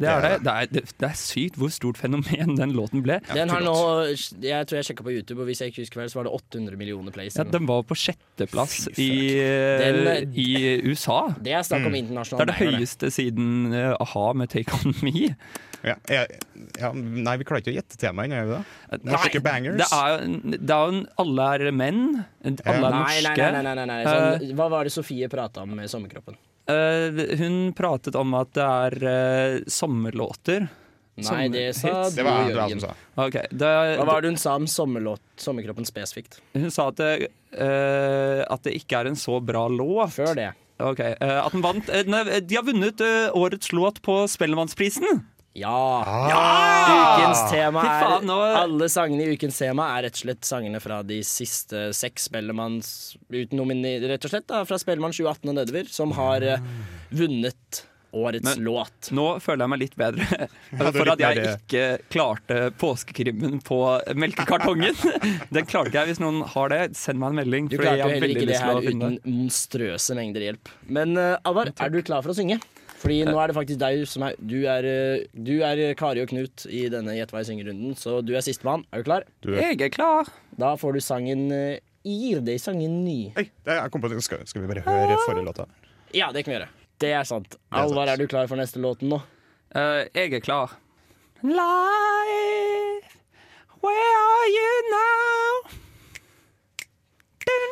J: Det er det. Det er, det, det er sykt hvor stort fenomen den låten ble.
C: Den har nå eh, Jeg tror jeg sjekka på YouTube, og hvis jeg ikke husker feil, så var det 800 millioner plays.
J: ja, Den var på sjetteplass i, eh,
C: Den-
J: i USA.
C: Det er snakk om internasjonal
J: Mm. Det er det
C: banger, det.
J: høyeste siden eh, a-ha med Take On Me.
I: Ja, jeg, ja, nei, vi klarer ikke å gjette temaet ennå, gjør vi det? Norske bangers.
J: Det er, jo- det er jo en Alle er menn. Alle er
C: Nei, nei,
J: norske.
C: nei, nei, nei, nei. Sånn, hva var det Sofie prata om med sommerkroppen?
J: Eh, eh, hun pratet om at det er eh, sommerlåter.
C: Nei, det sa
J: Sommerhits.
C: Det var- du, det var Jørgen. som
J: Ok, det,
C: Hva var det hun sa om sommerlåt, sommerkroppen spesifikt?
J: Hun sa at det, eh, at det ikke er en så bra låt. Før
C: det.
J: Ok, eh, At den vant eh, nei, De har vunnet eh, årets låt på Spellemannsprisen!
C: Ja!
J: Ja!
C: Ukens tema
J: Fy
C: er
J: faen, nå-
C: Alle sangene i ukens tema er rett og slett sangene fra de siste seks Spellemanns uten nomini, Rett og slett da, fra Spellemann 2018 og nedover, som har eh, vunnet årets
J: Men-
C: låt.
J: Nå føler jeg meg litt bedre
C: er
J: for
C: litt
J: at jeg
C: mer-
J: ikke klarte påskekrimmen på melkekartongen. Den klarte jeg. Hvis noen har det, send meg en melding.
C: Du
J: fordi
C: klarte
J: jeg
C: jo
J: har
C: heller
J: veldig
C: ikke det
J: lyst til
C: her
J: å finne
C: uten monstrøse mengder hjelp. Men eh, Alvar, er du klar for å synge? Fordi nå er det faktisk deg som er Du er, eh, du er Kari og Knut i denne Gjett hva jeg synger-runden, så du er sistemann. Er du klar?
J: Jeg er klar.
C: Da får du sangen eh, gir deg sangen ny.
I: Jeg kom på det. Skal, skal vi bare høre forrige låta?
C: Ja, det kan vi gjøre. Det er sant. Alvar, er du klar for neste låten nå?
J: jeg er klar.
O: Life, where are you now? Dun,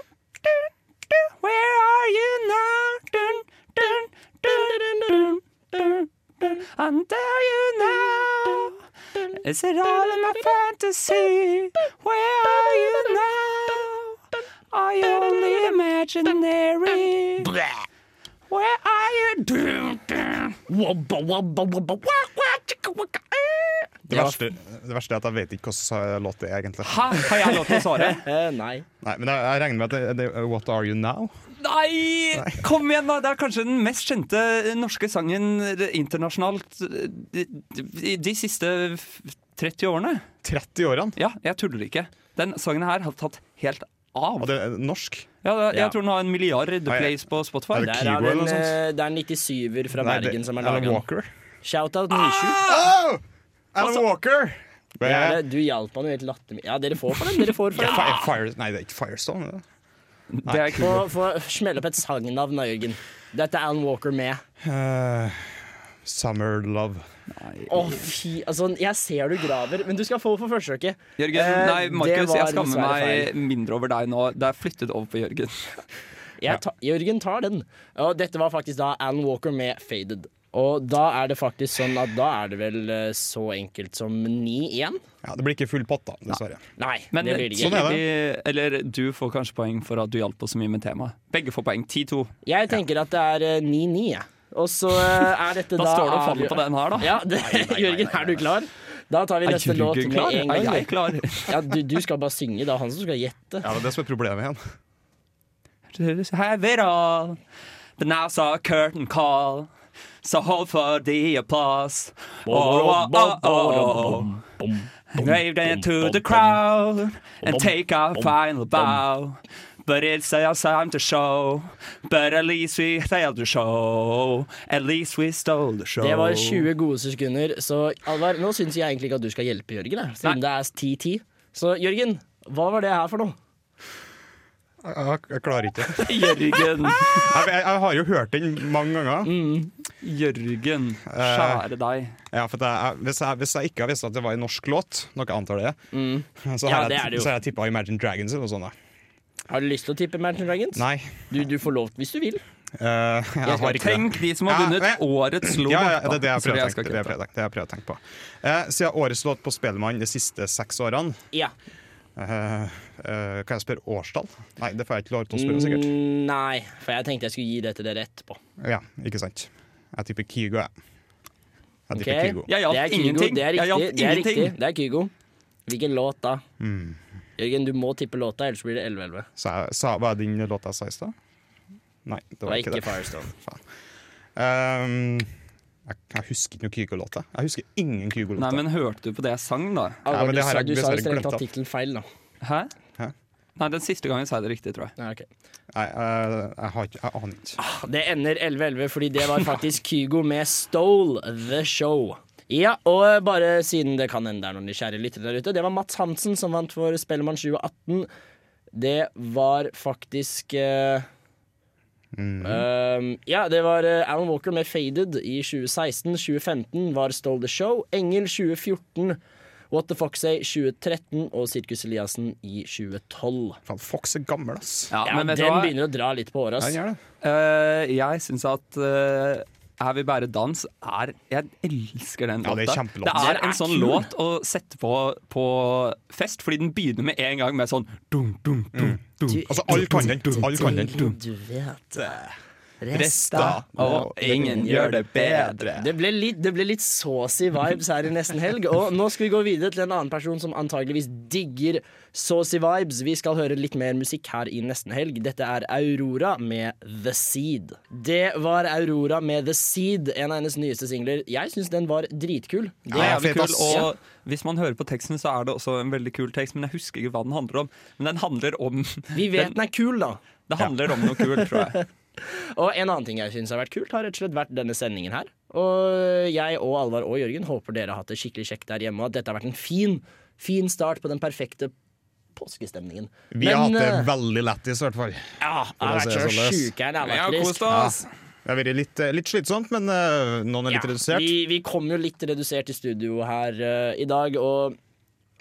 O: dun, dun, where are you now? Dun, dun, dun, dun, dun, dun, dun. I'm there you now. Is it all in my fantasy? Where are you now? Are you only imaginary? Where are you? Dun, dun. Wubba, wubba, wubba, wah, wah, chicka, wicka, eh.
I: Det verste, det verste er at jeg vet ikke hvilken låt det er, egentlig.
J: Hæ? Har jeg lov til å svare?
C: Nei.
I: Nei, Men jeg, jeg regner med at det, det er What Are You Now?
J: Nei! Kom igjen, da! Det er kanskje den mest kjente norske sangen eh, internasjonalt eh, de, de, de siste f- 30 årene.
I: 30 årene?
J: Ja, jeg tuller ikke. Den sangen her har tatt helt av.
I: Og det er norsk?
J: Ja, det, jeg
C: Ja.
J: tror den har en milliard plays på Spotify.
C: Der er vel, eh, det er en 97-er fra
J: Nei, det-
C: Bergen som er
J: Alan
C: laga.
J: Walker. Ah!
C: Shout-out Nisju.
I: Alan Walker!
C: Det er det, du hjalp han jo helt latterlig. Ja, dere får for den. Dere får for den.
I: Fi- Fire, nei, det er ikke Firestone. det. Nei.
C: Nei. Få, få smelle opp et sangnavn da, Jørgen. Dette er Alan Walker med.
I: Eh, summer Love.
C: Å, fy Altså, jeg ser du graver, men du skal få for forsøket.
J: Jørgen,
C: Eh,
J: nei,
C: det
J: Markus,
C: var
J: jeg skammer
C: dessverre
J: meg
C: feil.
J: mindre over deg nå. Det er flyttet over på Jørgen.
C: Jeg ta, Jørgen tar den. Og dette var faktisk da Alan Walker med Faded. Og da er det faktisk sånn at da er det vel eh, så enkelt som 9-1.
I: Ja, det blir ikke full pott, da, dessverre.
C: Nei,
J: Men sånn
C: det blir det
J: tidlig-
C: ikke.
J: eller du får kanskje poeng for at du hjalp oss så mye med temaet. Begge får poeng. 10-2.
C: Jeg tenker at det er eh, 9-9, jeg. Og så eh, er dette
J: Da
C: da
J: står det og
C: avgjør-
J: faller på den her, da.
C: Ja, det, Jørgen, er du klar? Da tar vi
J: Er
C: neste
J: Jørgen
C: låt med
J: klar?
C: en
J: Er
C: gang.
J: jeg klar?
C: ja, du, du skal bare synge. Det er han som skal gjette.
I: Ja, det er det som er problemet igjen.
J: Have it all. But now's our curtain call. So hold for the applause. Oh, oh, oh, oh, oh. Wave them to the crowd and take our final bow. But it's our time to show. But at least we failed to show. At least we stole the show.
C: Det var 20 gode sekunder. Så Alvar, nå syns jeg egentlig ikke at du skal hjelpe Jørgen, jeg, siden det er 10-10. Så Jørgen, hva var det her for noe?
I: Jeg, jeg, jeg klarer ikke.
J: Jørgen.
I: Jeg, jeg, jeg har jo hørt den mange ganger.
J: Jørgen,
I: Eh, kjære
J: deg.
I: Ja, for det er, hvis, jeg, hvis jeg ikke har visst at det var en norsk låt, noe jeg antar det er, så
C: Mm. Ja,
I: har
C: det er det
I: jeg,
C: jo.
I: så har jeg tippa Imagine Dragons eller noe sånt. Da.
C: Har du lyst til å tippe Mountain Dragons?
I: Nei.
C: Du, du får lov hvis du vil.
I: Eh, jeg,
C: skal
I: har ikke
J: Tenk
I: det.
J: de som har
I: Ja,
J: vunnet
I: men-
J: årets låt.
I: Ja, ja, det er det jeg
J: Sorry,
I: prøver å
J: skal
I: tenke, det er det jeg prøver å tenke- det er det jeg prøver å tenke på. Eh, siden årets låt på Spellemann de siste seks årene
C: Ja.
I: eh, eh, Kan jeg spørre årstall? Nei, det får jeg ikke lov til å spørre, sikkert.
C: Mm, Nei, for jeg tenkte jeg skulle gi det til dere etterpå.
I: Ja, ikke sant. Jeg tipper Kygo, jeg. Jeg tipper
C: Ok?
I: Kygo.
C: det er Kygo, Det er
J: Jeg
C: riktig.
J: hjalp
C: Det er,
J: ingenting.
C: riktig. det er Kygo. Hvilken låt da?
I: Mm.
C: Jørgen, du må tippe låta, ellers blir det 11-11.
I: Sa jeg- sa, var det din låt jeg sa i stad? Nei, det var,
C: Det var ikke
I: det.
C: Firestone.
I: Faen. Ehm, jeg, jeg husker ikke noen Kygo-låter. Jeg husker ingen
J: Nei,
I: Kygo-låter.
J: men hørte du på det jeg sang, da?
I: Ja, men det har jeg
C: du sa jo
I: dessverre
C: strengt
I: glemt
C: tatt
I: av.
C: tittelen feil, da.
J: Hæ?
I: Hæ?
J: Nei, den siste gangen sa jeg det riktig, tror jeg.
C: Nei, ok.
I: Nei, eh, jeg, har ikke, jeg aner ikke.
C: Det ender 11-11 fordi det var faktisk Kygo med Stole The Show. Ja, og bare siden det kan hende det er noen nysgjerrige lyttere der ute, det var Mats Hansen som vant for Spellemann 2018. Det var faktisk eh,
I: Mm.
C: Um, ja, det var eh, Alan Walker med Faded i 2016. 2015 var Stole the Show. Engel 2014. What the Fox Say 2013 og Sirkus Eliassen i 2012.
I: Faen, Fox er gammel, ass.
J: Ja,
C: Ja,
J: men vet du
C: den
J: hva?
C: begynner å dra litt på året. ass.
I: Ja, den gjør det.
J: Eh, jeg syns at eh, Her vi bære dans er Jeg elsker den
I: Ja,
J: låta.
I: det er kjempelåt.
J: Det er
I: Den er
J: en sånn
I: kul.
J: låt å sette på på fest, fordi den begynner med en gang med sånn dum, dum, dum, dum,
I: Altså, alle kan den. Alle kan den.
C: Du vet det.
J: eh, Resta, og ingen gjør det bedre.
C: Det ble litt, det ble litt saucy vibes her i nesten helg. Og nå skal vi gå videre til en annen person som antageligvis digger saucy vibes. Vi skal høre litt mer musikk her i nesten helg. Dette er Aurora med The Seed. Det var Aurora med The Seed, en av hennes nyeste singler. Jeg syns den var dritkul.
J: Det er jævlig kul, og hvis man hører på teksten, så er det også en veldig kul tekst, men jeg husker ikke hva den handler om. Men den handler om
C: Vi vet den er kul, da.
J: Det handler om noe kult, tror jeg.
C: Og en annen ting jeg syns har vært kult, har rett og slett vært denne sendingen her. Og jeg og Alvar og Jørgen håper dere har hatt det skikkelig kjekt der hjemme, og at dette har vært en fin, fin start på den perfekte påskestemningen. eh,
F: Vi har hatt det veldig lættis, i hvert fall.
C: Ja,
F: For å si det sånn således.
C: Vi
F: Ja. Det har vært litt, eh, litt slitsomt, men eh, noen er litt redusert.
C: Vi, vi kom jo litt redusert i studio her eh, i dag, og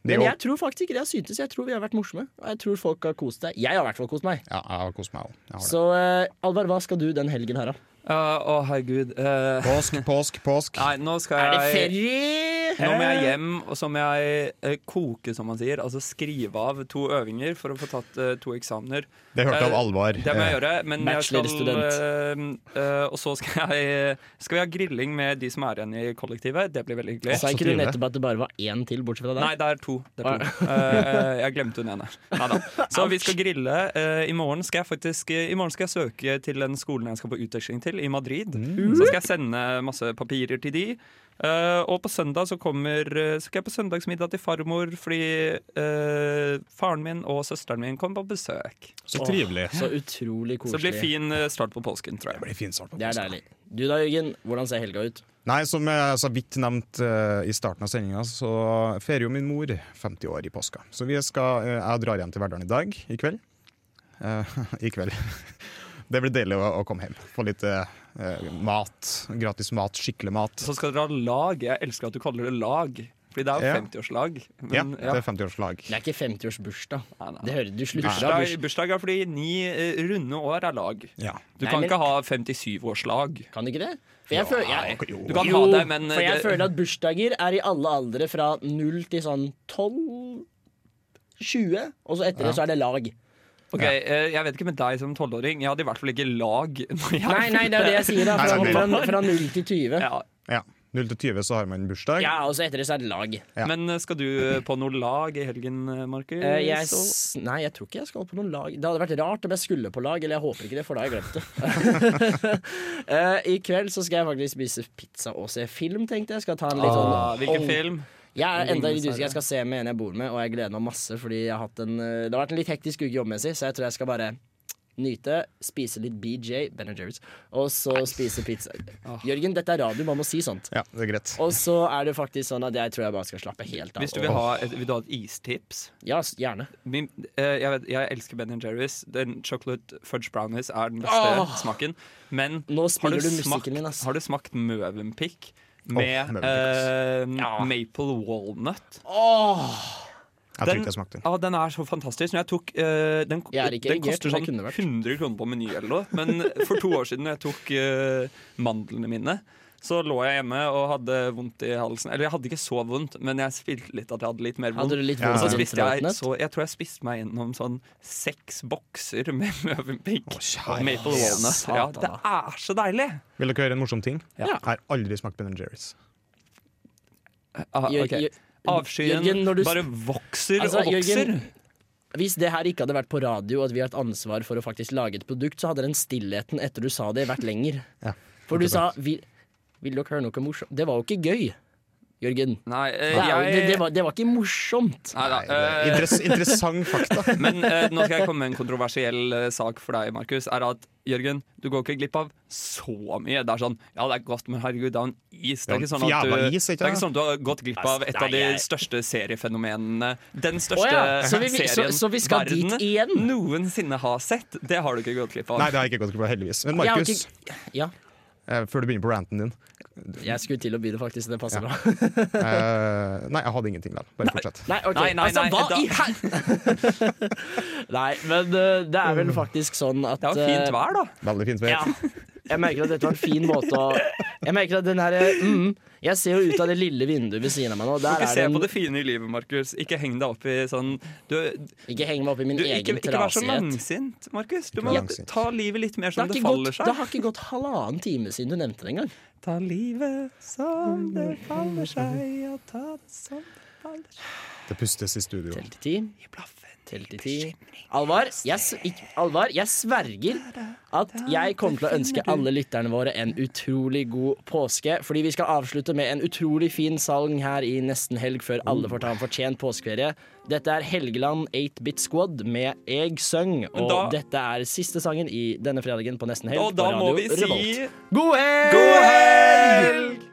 F: Det er
C: Men
F: jo-
C: jeg tror faktisk ikke det har syntes. Jeg tror vi har vært morsomme. Og jeg tror folk har kost deg. Jeg har i hvert fall kost meg.
F: Ja, jeg har kost meg òg.
C: Så eh, Alvar, hva skal du den helgen her, da?
J: Å, herregud. eh,
F: Påsk, påsk, påsk.
J: Nei, nå skal
C: Er
J: jeg
C: det ferie?
J: Nå må jeg hjem, og så må jeg eh, koke, som man sier. Altså skrive av to øvinger for å få tatt eh, to eksamener.
F: Det hørte
J: Eh,
F: av Alvar.
J: Det må jeg
F: Eh,
J: gjøre. Men jeg skal eh, eh, Og så skal jeg Skal vi ha grilling med de som er igjen i kollektivet. Det blir veldig hyggelig.
C: Sa ikke du nettopp at det bare var én til, bortsett fra deg?
J: Nei, det er to. Det er to.
C: Ah.
J: Eh, jeg glemte hun ene. Neida. Så vi skal grille. Eh, I morgen skal jeg faktisk eh, I morgen skal jeg søke til den skolen jeg skal på utveksling til, i Madrid.
F: Mm.
J: Så skal jeg sende masse papirer til de. Eh, og på søndag så kommer eh, skal jeg på søndagsmiddag til farmor fordi eh, faren min og søsteren min kommer på besøk.
C: Så trivelig. Åh, så utrolig
J: Så det
C: koselig.
J: blir fin eh, start på påsken, tror jeg. Det
F: blir fin start på
C: Det er deilig. Du da, Jørgen. Hvordan ser helga ut?
F: Nei, som jeg så vidt nevnt eh, i starten av sendinga, så feirer jo min mor 50 år i påska. Så vi skal, eh, jeg drar hjem til Verdalen i dag, i kveld. Eh, I kveld. Det blir deilig å, å komme hjem. Få litt eh, eh, mat. Gratis mat, skikkelig mat.
J: Så skal dere ha lag. Jeg elsker at du kaller det lag. Fordi det er jo
F: Ja.
J: 50-årslag.
F: ja,
J: Men,
F: det er 50-årslag.
C: Det er ikke 50-årsbursdag. Det hører du slutter av
J: Bursdag,
C: bursdag.
J: bursdag er fordi ni eh, runde år er lag.
F: Ja.
J: Du
C: Nei,
J: kan
C: men-
J: ikke ha 57-årslag.
C: Kan ikke det? For jeg føler, jeg,
J: Du kan
C: jo,
J: ha det, men eh,
C: for jeg
J: det-
C: føler at bursdager er i alle aldre fra 0 til sånn 12 20, og så etter
J: Ja.
C: det så er det lag.
J: Ok, eh, Jeg vet ikke med deg som tolvåring, jeg hadde i hvert fall ikke lag. Når jeg
C: Nei, nei, det er det jeg sier. da
F: Nei,
C: Fra,
F: det er
C: fra,
F: det.
C: fra 0 til 20.
J: Ja.
F: Ja. 0 til 20 så har man bursdag.
C: og så etter det så er det lag.
J: Men eh, skal du eh, på noe lag i helgen, eh, Markus?
C: Eh, jeg, s- nei, jeg tror ikke jeg skal på noen lag. Det hadde vært rart om jeg skulle på lag, eller jeg håper ikke det, for da har jeg glemt det. Eh, I kveld så skal jeg faktisk spise pizza og se film, tenkte jeg. Skal ta en litt sånn
J: Ah, hvilken
C: Oh.
J: film?
C: Jeg er enda litt
J: Ringenes
C: usikker. Jeg skal se med en jeg bor med, og jeg gleder meg masse. Fordi jeg har hatt en, eh, det har vært en litt hektisk uke jobbmessig, så jeg tror jeg skal bare nyte, spise litt BJ, Ben Jerry's, og så spise pizza. Jørgen, dette er radio, man må si sånt.
F: Ja, det er greit.
C: Og så er det faktisk sånn at jeg tror jeg bare skal slappe helt av.
J: Hvis du vil ha et, vil du ha et istips?
C: Ja, gjerne.
J: Min, eh, jeg, vet, jeg elsker Ben Jerry's. Den Chocolate fudge brownies er den beste
C: Åh!
J: smaken. Men
C: Ah. spiller du musikken
J: smakt,
C: min,
J: har du smakt Møvenpick
F: Åh,
J: med
F: Mövenpick,
J: eh, maple walnut?
F: Jeg tror ikke jeg smakte den.
J: Ja, den er så fantastisk. Men jeg tok, eh, den
C: Jeg er ikke
J: den
C: erigert,
J: koster
C: men det
J: sånn 100 kroner på Meny eller noe. Men for to år siden jeg tok eh, mandlene mine, så lå jeg hjemme og hadde vondt i halsen. Eller jeg hadde ikke så vondt, men jeg spilte litt at jeg hadde litt mer vondt.
C: Hadde du litt
J: Og
C: vondt
J: så
C: i
J: spiste jeg
C: internettnett?
J: så Jeg tror jeg spiste meg gjennom sånn seks bokser med Mövenpick og Maple Walnut.
F: Satan,
J: Ja, det
F: da.
J: er så deilig!
F: Vil dere høre en morsom ting?
J: Ja.
F: Jeg har aldri smakt Ben Jerry's.
J: Ah, ok.
C: Jør-
J: Avskyen
C: Jørgen, når du-
J: bare vokser
C: Altså,
J: og vokser.
C: Jørgen, hvis det her ikke hadde vært på radio, at vi har et ansvar for å faktisk lage et produkt, så hadde den stillheten etter du sa det, vært lenger. For du sa vi, 'Vil dere høre noe morsomt?' Det var jo ikke gøy, Jørgen.
J: Nei, eh,
C: det, er jo-
J: jeg-
C: det, det, var, det var ikke morsomt.
J: Neida,
C: Nei, det er
J: eh,
C: interess- interessant fakta.
J: Men eh, nå skal jeg komme med en kontroversiell eh, sak for deg, Markus. Er at Jørgen, du går ikke glipp av så mye. Det er sånn Ja, det er godt, men herregud, det er en is. Det er ikke sånn
F: Ja,
J: at du,
F: jævla is, ikke
J: det er
F: det?
J: ikke sånn at du har gått glipp av et av de
F: Nei, jeg-
J: største seriefenomenene. Den
C: Å
J: største
C: ja,
J: eh,
C: så vi- vi- så-
J: serien
C: så vi skal dit
J: verden noensinne har sett. Det har du ikke gått glipp av.
F: Nei, det har jeg ikke gått glipp av, heldigvis. Men
J: Jeg har
F: Markus,
C: Ja,
F: eh, før du begynner på ranten din
C: jeg skulle til å begynne, faktisk. Det passer bra.
F: Eh, Nei, jeg hadde ingenting da. Bare fortsett.
C: Nei, ok.
J: Nei, nei,
C: altså,
J: nei,
C: hva
J: da-
C: i hel... nei, men eh, det er vel faktisk sånn at
J: Mm. Det var fint
C: eh,
J: vær, da.
F: Veldig fint vær.
C: Jeg merker at dette var en fin måte å Jeg merker at den her mm, Jeg ser jo ut av det lille vinduet ved siden av meg nå.
J: Du må
C: Der
J: ikke
C: er
J: se
C: det en,
J: på det fine i livet, Markus. Ikke heng deg opp i sånn du,
C: Ikke heng meg opp i min egen
J: ikke, ikke vær så
C: trasighet.
J: langsint, Markus. Du
C: Ikke
J: må
C: vær langsint.
J: ta livet litt mer
C: det, har
J: som det,
C: ikke
J: faller
C: gått,
J: seg.
C: det har ikke gått halvannen time siden du nevnte det engang.
J: Ta livet som det Mm. faller seg, og ta det som det faller seg.
F: Det pustes i studio.
C: Tell til ti. Tell til ti. Alvar, jeg, s- ikk- Alvar, jeg sverger at jeg kommer til å ønske alle lytterne våre en utrolig god påske. Fordi vi skal avslutte med en utrolig fin sang her i nesten helg før alle får ta en fortjent påskeferie. Dette er Helgeland 8-Bit Squad med Eg Søng, og
J: Da-
C: dette er siste sangen i denne fredagen på nesten helg
J: Og da
C: på
J: må
C: Radio
J: vi si
C: Revolt. God helg!
J: God helg!